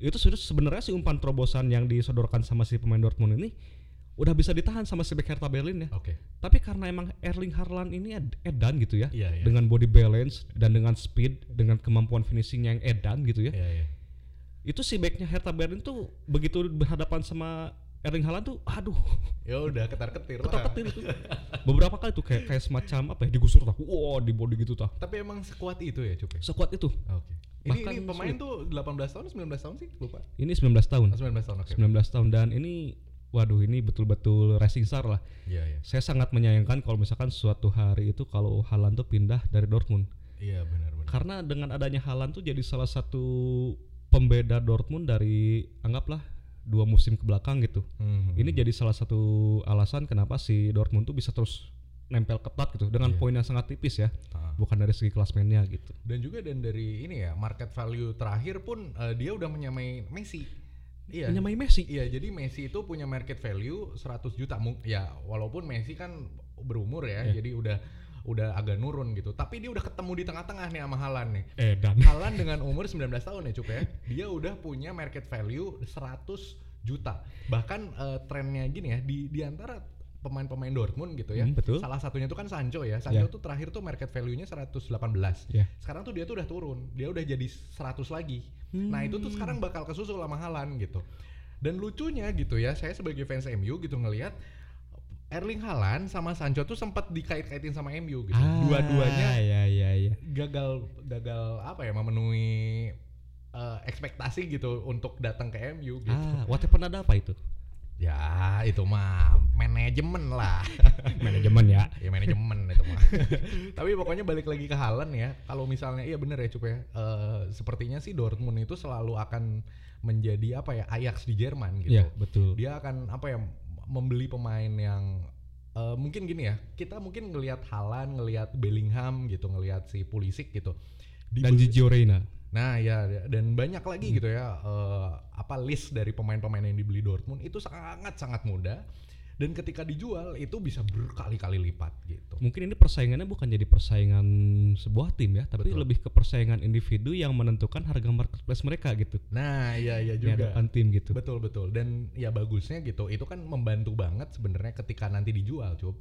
Speaker 3: Itu sudah sebenarnya si umpan terobosan yang disodorkan sama si pemain Dortmund ini udah bisa ditahan sama si bek Hertha Berlin ya.
Speaker 4: Oke.
Speaker 3: Tapi karena emang Erling Haaland ini ed- edan gitu ya.
Speaker 4: Iya, iya.
Speaker 3: Dengan body balance dan dengan speed, dengan kemampuan finishing yang edan gitu ya.
Speaker 4: Iya iya.
Speaker 3: Itu si backnya Hertha Berlin tuh begitu berhadapan sama Erling Haaland tuh aduh
Speaker 4: Ya udah ketar-ketir lah.
Speaker 3: ketar-ketir itu beberapa kali tuh kayak kayak semacam apa ya digusur tah wow di body gitu tah
Speaker 4: Tapi emang sekuat itu ya, Cup ya?
Speaker 3: sekuat itu
Speaker 4: Oke. Ini,
Speaker 3: Bahkan
Speaker 4: ini pemain tuh
Speaker 3: sulit.
Speaker 4: 18 tahun 19 tahun sih, lupa.
Speaker 3: ini 19 tahun
Speaker 4: Oh, 19 tahun oke.
Speaker 3: 19 tahun dan ini waduh ini betul-betul racing star lah
Speaker 4: Iya iya.
Speaker 3: saya sangat menyayangkan kalau misalkan suatu hari itu kalau Haaland tuh pindah dari Dortmund
Speaker 4: Iya benar benar.
Speaker 3: karena dengan adanya Haaland tuh jadi salah satu pembeda Dortmund dari anggaplah dua musim ke belakang gitu
Speaker 4: Hmm.
Speaker 3: ini jadi salah satu alasan kenapa si Dortmund tuh bisa terus nempel ketat gitu dengan poin yang sangat tipis
Speaker 4: Iya.
Speaker 3: ya
Speaker 4: Ah.
Speaker 3: bukan dari segi klasmennya gitu
Speaker 4: Dan juga dan dari ini ya, market value terakhir pun eh, dia udah menyamai Messi. Iya.
Speaker 3: menyamai Messi.
Speaker 4: Iya, jadi Messi itu punya market value 100 juta. Mung- Ya, walaupun Messi kan berumur ya,
Speaker 3: Iya.
Speaker 4: jadi udah udah agak nurun gitu. Tapi dia udah ketemu di tengah-tengah nih sama Haaland nih.
Speaker 3: Eh dan
Speaker 4: Haaland dengan umur 19 tahun ya, Cuk ya. Dia udah punya market value 100 juta. Bahkan eh, trennya gini ya, di di antara pemain-pemain Dortmund gitu ya.
Speaker 3: Hmm, betul.
Speaker 4: Salah satunya itu kan Sancho ya. Sancho
Speaker 3: Ya.
Speaker 4: tuh terakhir tuh market value-nya 118.
Speaker 3: Ya.
Speaker 4: Sekarang tuh dia tuh udah turun. Dia udah jadi 100 lagi. Nah, itu
Speaker 3: Hmm.
Speaker 4: tuh sekarang bakal kesusul sama Haaland gitu. Dan lucunya gitu ya, saya sebagai fans MU gitu ngelihat Erling Haaland sama Sancho tuh sempat dikait-kaitin sama MU
Speaker 3: Ah,
Speaker 4: gitu. Dua-duanya
Speaker 3: ya ya ya.
Speaker 4: gagal gagal apa ya memenuhi eh, ekspektasi gitu untuk datang ke MU gitu.
Speaker 3: Ah, Wattpad ada apa itu?
Speaker 4: Ya, itu mah manajemen lah.
Speaker 3: Manajemen ya.
Speaker 4: ya manajemen itu mah. Tapi pokoknya balik lagi ke Haaland ya. Kalau misalnya iya bener ya Cup ya. Eh, sepertinya sih Dortmund itu selalu akan menjadi apa ya Ajax di Jerman gitu.
Speaker 3: Iya, betul.
Speaker 4: dia akan apa ya membeli pemain yang eh, mungkin gini ya kita mungkin ngelihat Halan ngelihat Bellingham gitu ngelihat si Pulisic gitu
Speaker 3: Dan
Speaker 4: Dibeli-
Speaker 3: Gigi Reina.
Speaker 4: nah ya dan banyak lagi gitu ya eh, apa list dari pemain-pemain yang dibeli Dortmund itu sangat sangat mudah dan ketika dijual itu bisa berkali-kali lipat gitu
Speaker 3: Mungkin ini persaingannya bukan jadi persaingan sebuah tim ya, tapi
Speaker 4: Betul.
Speaker 3: lebih ke persaingan individu yang menentukan harga marketplace mereka gitu.
Speaker 4: nah ya ya
Speaker 3: Di
Speaker 4: juga
Speaker 3: hadapan tim gitu.
Speaker 4: Betul betul dan ya bagusnya gitu itu kan membantu banget sebenarnya ketika nanti dijual cup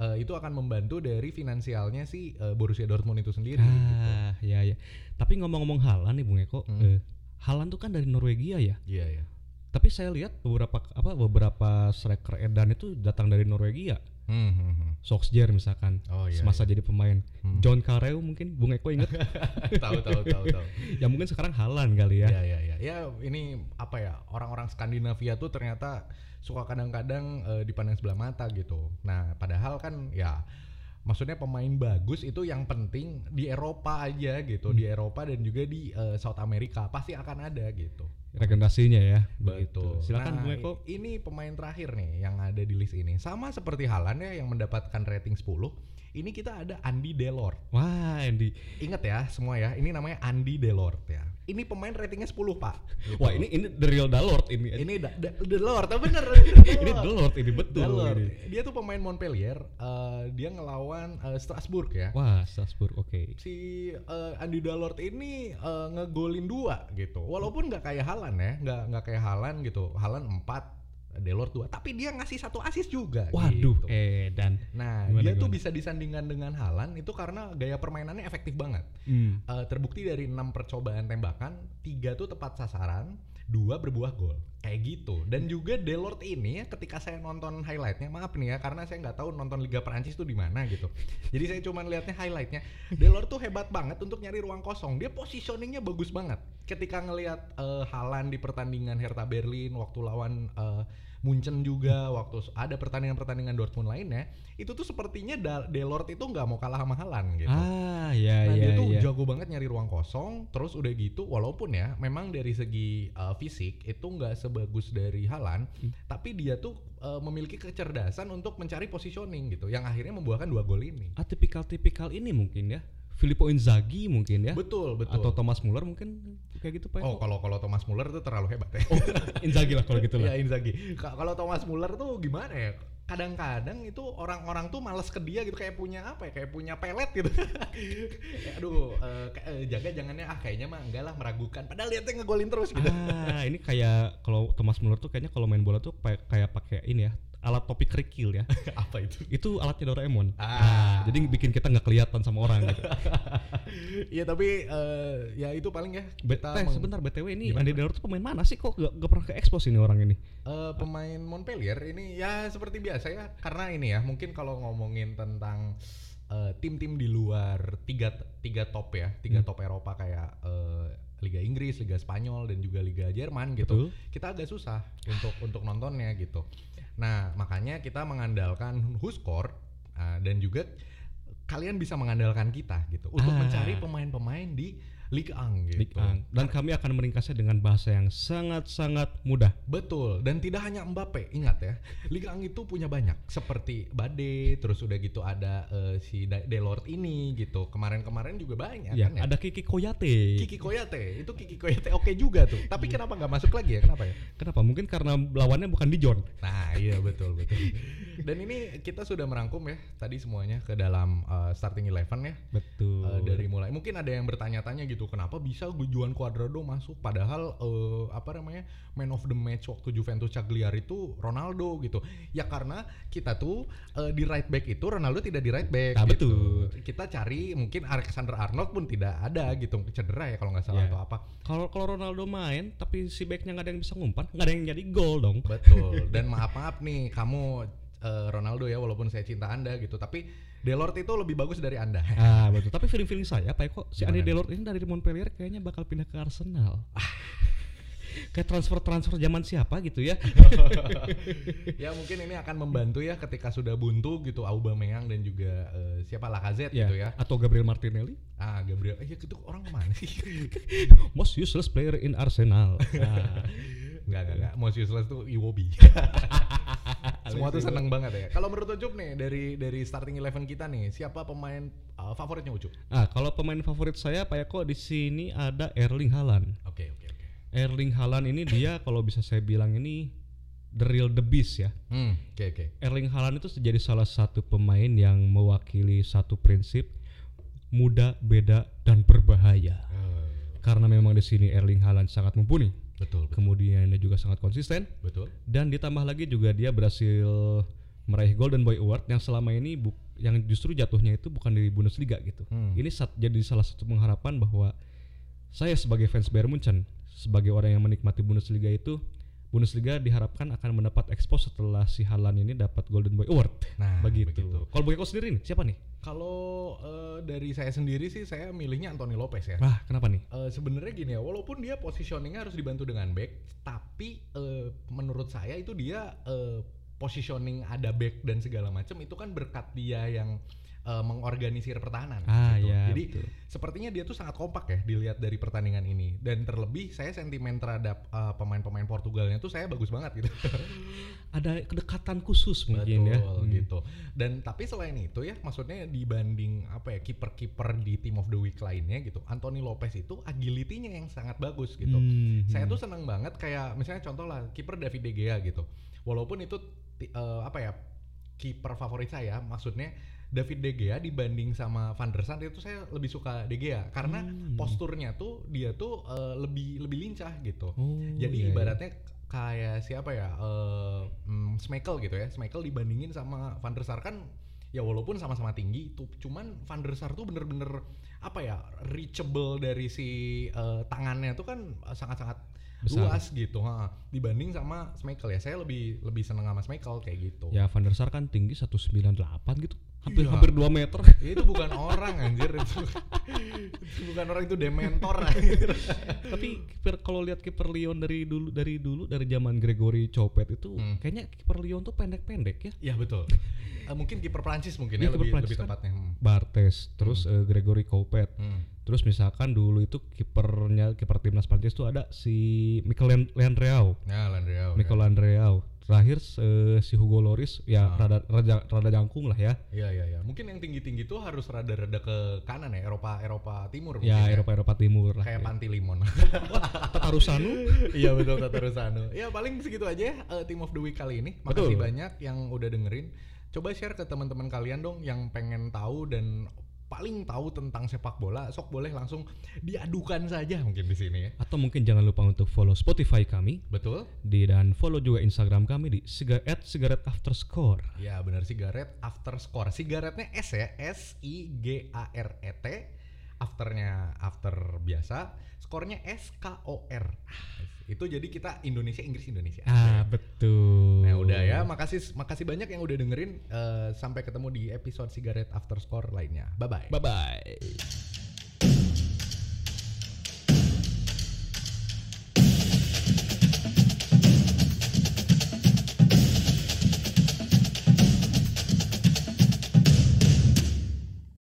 Speaker 4: Eh, itu akan membantu dari finansialnya si eh, Borussia Dortmund itu sendiri gitu.
Speaker 3: Ah, ya ya. Tapi ngomong-ngomong Halan nih Bung Eko,
Speaker 4: Hmm.
Speaker 3: eh, Haaland tuh kan dari Norwegia ya.
Speaker 4: Iya ya.
Speaker 3: Tapi saya lihat beberapa apa beberapa striker edan itu datang dari Norwegia.
Speaker 4: Hmm, hmm, hmm.
Speaker 3: Solskjaer misalkan
Speaker 4: Oh, iya,
Speaker 3: semasa jadi pemain
Speaker 4: Hmm.
Speaker 3: John Carew mungkin Bung Eko ingat
Speaker 4: Tahu tahu tahu tahu.
Speaker 3: ya mungkin sekarang Halan kali ya
Speaker 4: Ya ya ya. Ya ini apa ya orang-orang Skandinavia tuh ternyata suka kadang-kadang eh, dipandang sebelah mata gitu. Nah padahal kan ya maksudnya pemain bagus itu yang penting di Eropa aja
Speaker 3: Hmm.
Speaker 4: gitu di Eropa dan juga di eh, South America pasti akan ada gitu
Speaker 3: regenerasinya ya
Speaker 4: Begitu.
Speaker 3: begitu silakan
Speaker 4: Nah,
Speaker 3: Bung Eko
Speaker 4: i- Ini pemain terakhir nih yang ada di list ini. Sama seperti Haaland ya yang mendapatkan rating 10. Ini kita ada Andy Delort.
Speaker 3: wah Andy
Speaker 4: Ingat ya semua ya, ini namanya Andy Delort ya. Ini pemain ratingnya 10, Pak. Gitu.
Speaker 3: wah ini ini the real Dalord ini
Speaker 4: ini da- da- Delort, ah, bener.
Speaker 3: ini Dalord ini betul
Speaker 4: Delort.
Speaker 3: ini.
Speaker 4: Dia tuh pemain Montpellier, eh, dia ngelawan eh, Strasbourg ya.
Speaker 3: wah Strasbourg oke
Speaker 4: si eh, Andy Dalort ini eh, ngegolin dua gitu. Walaupun nggak kayak Halan ya, nggak nggak kayak Halan gitu. Halan 4, Delort 2, tapi dia ngasih satu asis juga.
Speaker 3: waduh
Speaker 4: gitu.
Speaker 3: eh dan
Speaker 4: Nah,
Speaker 3: Gimana,
Speaker 4: dia tuh
Speaker 3: gimana?
Speaker 4: bisa disandingkan dengan Halan itu karena gaya permainannya efektif banget.
Speaker 3: hmm.
Speaker 4: Eh, terbukti dari 6 percobaan tembakan, tiga tuh tepat sasaran, dua berbuah gol. Kayak gitu. Dan juga Delort ini ya ketika saya nonton highlightnya, maaf nih ya karena saya nggak tahu nonton Liga Perancis tuh di mana gitu. Jadi saya cuman lihatnya highlightnya. Delort tuh hebat banget untuk nyari ruang kosong. Dia positioningnya bagus banget. Ketika ngelihat eh, Haaland di pertandingan Hertha Berlin waktu lawan eh, Munchen juga waktu s- ada pertandingan-pertandingan Dortmund lainnya, itu tuh sepertinya Da- Delort itu nggak mau kalah sama Haaland gitu.
Speaker 3: ah ya
Speaker 4: Nah,
Speaker 3: ya
Speaker 4: dia tuh
Speaker 3: ya
Speaker 4: jago banget nyari ruang kosong, terus udah gitu walaupun ya memang dari segi uh, fisik itu nggak sebagus dari Halan,
Speaker 3: Hmm.
Speaker 4: tapi dia tuh uh, memiliki kecerdasan untuk mencari positioning gitu, yang akhirnya membuahkan dua gol ini.
Speaker 3: ah tipikal-tipikal ini mungkin ya Filippo Inzaghi mungkin ya
Speaker 4: Betul, betul.
Speaker 3: atau Thomas Muller mungkin kayak gitu Pak
Speaker 4: oh, kalau kalau Thomas Muller tuh terlalu hebat ya.
Speaker 3: Oh, Inzaghi lah kalau gitu
Speaker 4: ya
Speaker 3: lah
Speaker 4: Inzaghi. Ka- Kalau Thomas Muller tuh gimana ya? Kadang-kadang itu orang-orang tuh males ke dia gitu kayak punya apa ya? Kayak punya pelet gitu. Ya, Aduh, eh, ka- eh, jaga jangannya ah kayaknya mah enggak lah meragukan. Padahal dia tuh ngegolin terus gitu.
Speaker 3: ah ini kayak kalau Thomas Muller tuh kayaknya kalau main bola tuh kayak, kayak pakai ini ya alat topi kerikil ya
Speaker 4: apa itu?
Speaker 3: itu alatnya Doraemon
Speaker 4: Ah.
Speaker 3: ah. jadi bikin kita nggak kelihatan sama orang gitu
Speaker 4: Iya tapi eh, ya itu paling ya
Speaker 3: Bet-
Speaker 4: kita
Speaker 3: eh,
Speaker 4: meng-
Speaker 3: sebentar btw ini
Speaker 4: Gimana?
Speaker 3: Andy Delort tuh pemain mana sih kok gak, pernah ke expose ini orang ini
Speaker 4: eh, pemain Montpellier ini ya seperti biasa ya karena ini ya mungkin kalau ngomongin tentang eh, tim-tim di luar tiga tiga top ya tiga
Speaker 3: Hmm.
Speaker 4: top Eropa kayak eh, Liga Inggris, Liga Spanyol dan juga Liga Jerman gitu.
Speaker 3: Betul.
Speaker 4: kita agak susah untuk untuk nontonnya gitu. Nah, makanya kita mengandalkan Huskor uh, dan juga kalian bisa mengandalkan kita gitu untuk
Speaker 3: Ah.
Speaker 4: mencari pemain-pemain di Liga Ang gitu.
Speaker 3: Dik Ang. ah, dan kami akan meringkasnya dengan bahasa yang sangat-sangat mudah
Speaker 4: Betul, dan tidak hanya Mbappe, ingat ya. Liga Ang itu punya banyak seperti Bade, terus udah gitu ada eh, si Da- Delort ini gitu. Kemarin-kemarin juga banyak
Speaker 3: ya,
Speaker 4: kan ya.
Speaker 3: ada Kiki Koyate
Speaker 4: Kiki Koyate, itu Kiki Koyate oke juga tuh. Tapi kenapa nggak masuk lagi ya? Kenapa ya?
Speaker 3: kenapa mungkin karena lawannya bukan Dijon
Speaker 4: Nah, iya betul betul. Dan ini kita sudah merangkum ya tadi semuanya ke dalam uh, starting eleven ya.
Speaker 3: betul
Speaker 4: Uh, dari mulai mungkin ada yang bertanya-tanya gitu kenapa bisa Juan Cuadrado masuk padahal uh, apa namanya man of the match waktu Juventus Cagliari itu Ronaldo gitu ya karena kita tuh uh, di right back itu Ronaldo tidak di right back
Speaker 3: Nah,
Speaker 4: gitu.
Speaker 3: betul.
Speaker 4: kita cari mungkin Alexander Arnold pun tidak ada gitu cedera ya kalau nggak salah
Speaker 3: Ya.
Speaker 4: atau apa
Speaker 3: kalau kalau Ronaldo main tapi si backnya nggak ada yang bisa ngumpan nggak ada yang jadi gol dong
Speaker 4: Betul. Dan maaf maaf nih kamu eh, Ronaldo ya walaupun saya cinta Anda gitu, tapi Delort itu lebih bagus dari Anda.
Speaker 3: ah betul tapi feeling feeling saya Pak Eko si Andy
Speaker 4: Gimana?
Speaker 3: Delort ini dari Montpellier kayaknya bakal pindah ke Arsenal kayak transfer transfer zaman siapa gitu ya
Speaker 4: ya mungkin ini akan membantu ya ketika sudah buntu gitu Aubameyang dan juga eh, siapa Lacazette
Speaker 3: Iya.
Speaker 4: gitu ya.
Speaker 3: atau Gabriel Martinelli
Speaker 4: Ah, Gabriel. Eh, ya gitu orang kemana sih?
Speaker 3: most useless player in Arsenal Ah.
Speaker 4: Enggak, enggak, enggak. Most useless tuh Iwobi. Semua tuh seneng banget ya. Kalau menurut Ucup nih dari dari starting eleven kita nih, siapa pemain eh, favoritnya Ucup?
Speaker 3: ah kalau pemain favorit saya Pak Eko di sini ada Erling Haaland
Speaker 4: Oke, oke, oke.
Speaker 3: Erling Haaland ini dia kalau bisa saya bilang ini the real the beast ya
Speaker 4: Hmm, oke, oke.
Speaker 3: Erling Haaland itu jadi salah satu pemain yang mewakili satu prinsip muda, beda, dan berbahaya.
Speaker 4: Eh,
Speaker 3: Karena memang di sini Erling Haaland sangat mumpuni,
Speaker 4: betul, betul.
Speaker 3: kemudian dia juga sangat konsisten,
Speaker 4: Betul.
Speaker 3: dan ditambah lagi juga dia berhasil meraih Golden Boy Award yang selama ini bu- yang justru jatuhnya itu bukan di Bundesliga gitu.
Speaker 4: Hmm.
Speaker 3: Ini sat- jadi salah satu pengharapan bahwa saya sebagai fans Bayern Munchen, sebagai orang yang menikmati Bundesliga itu, Bundesliga diharapkan akan mendapat expose setelah si Haaland ini dapat Golden Boy Award.
Speaker 4: Nah,
Speaker 3: begitu.
Speaker 4: begitu.
Speaker 3: Kalau Boyko sendiri nih, siapa nih?
Speaker 4: Kalau eh, dari saya sendiri sih saya milihnya Anthony Lopez ya.
Speaker 3: Wah, kenapa nih?
Speaker 4: Eh, Sebenarnya gini ya, walaupun dia positioningnya harus dibantu dengan back, tapi eh, menurut saya itu dia eh, positioning ada back dan segala macam itu kan berkat dia yang eh, mengorganisir pertahanan
Speaker 3: Ah,
Speaker 4: gitu.
Speaker 3: iya,
Speaker 4: Jadi
Speaker 3: betul.
Speaker 4: sepertinya dia tuh sangat kompak ya dilihat dari pertandingan ini dan terlebih saya sentimen terhadap eh, pemain-pemain Portugalnya tuh saya bagus banget gitu.
Speaker 3: ada kedekatan khusus mungkin ya
Speaker 4: Betul,
Speaker 3: Hmm.
Speaker 4: gitu. Dan tapi selain itu ya, maksudnya dibanding apa ya kiper-kiper di team of the week lainnya gitu, Anthony Lopez itu agility-nya yang sangat bagus gitu.
Speaker 3: Hmm,
Speaker 4: Saya
Speaker 3: hmm.
Speaker 4: tuh seneng banget kayak misalnya contoh lah kiper David De Gea gitu. Walaupun itu ti- eh, apa ya kiper favorit saya, maksudnya David De Gea dibanding sama Van der Sar itu saya lebih suka De Gea karena
Speaker 3: Hmm.
Speaker 4: posturnya tuh dia tuh eh, lebih lebih lincah gitu.
Speaker 3: Oh,
Speaker 4: Jadi
Speaker 3: iya, iya.
Speaker 4: ibaratnya kayak siapa ya? eh mm, Schmeichel gitu ya. Schmeichel dibandingin sama Van der Sar kan ya walaupun sama-sama tinggi tuh cuman Van der Sar tuh bener-bener apa ya reachable dari si eh, tangannya tuh kan eh, sangat-sangat
Speaker 3: Besar.
Speaker 4: luas gitu ha. dibanding sama Schmeichel ya saya lebih lebih seneng sama Schmeichel kayak gitu
Speaker 3: ya Van der Sar kan tinggi 198 gitu hampir
Speaker 4: Iya.
Speaker 3: hampir 2 meter
Speaker 4: Ya, itu bukan orang anjir itu, Itu bukan orang itu dementor anjir.
Speaker 3: tapi kiper kalau lihat kiper Lyon dari dulu dari dulu dari zaman Gregory Copet itu
Speaker 4: Hmm.
Speaker 3: kayaknya kiper Lyon tuh pendek-pendek ya
Speaker 4: ya betul Eh, mungkin kiper Prancis mungkin ya,
Speaker 3: Iya, kiper
Speaker 4: lebih,
Speaker 3: Prancis
Speaker 4: lebih
Speaker 3: kan.
Speaker 4: tepatnya Hmm.
Speaker 3: Bartes terus eh, Gregory Copet
Speaker 4: Hmm.
Speaker 3: terus misalkan dulu itu kipernya kiper timnas Prancis tuh ada si Mikel Leandreau
Speaker 4: Ya, Landreau.
Speaker 3: Mikel Leandreau terakhir eh, si Hugo Loris
Speaker 4: Ah.
Speaker 3: ya rada, rada rada jangkung lah ya
Speaker 4: Iya iya iya. Mungkin yang tinggi-tinggi tuh harus rada-rada ke kanan ya, Eropa Eropa Timur mungkin.
Speaker 3: ya Eropa Eropa Timur lah
Speaker 4: Kayak
Speaker 3: ya.
Speaker 4: Panti Limon.
Speaker 3: Tatarusanu
Speaker 4: iya betul Tata Rusano. Ya paling segitu aja eh, Team of the Week kali ini. Makasih
Speaker 3: Betul.
Speaker 4: banyak yang udah dengerin. Coba share ke teman-teman kalian dong yang pengen tahu dan paling tahu tentang sepak bola, sok boleh langsung diadukan saja mungkin di sini ya.
Speaker 3: atau mungkin jangan lupa untuk follow Spotify kami
Speaker 4: Betul?
Speaker 3: di dan follow juga Instagram kami di siga at sigaret afterscore
Speaker 4: Ya benar sigaret after score. Sigaretnya S ya, S I G A R E T. Afternya after biasa, skornya S K O R. Itu jadi kita Indonesia Inggris Indonesia.
Speaker 3: ah betul
Speaker 4: Nah udah ya, makasih makasih banyak yang udah dengerin. Eh, sampai ketemu di episode sigaret after score lainnya. Bye bye.
Speaker 3: bye bye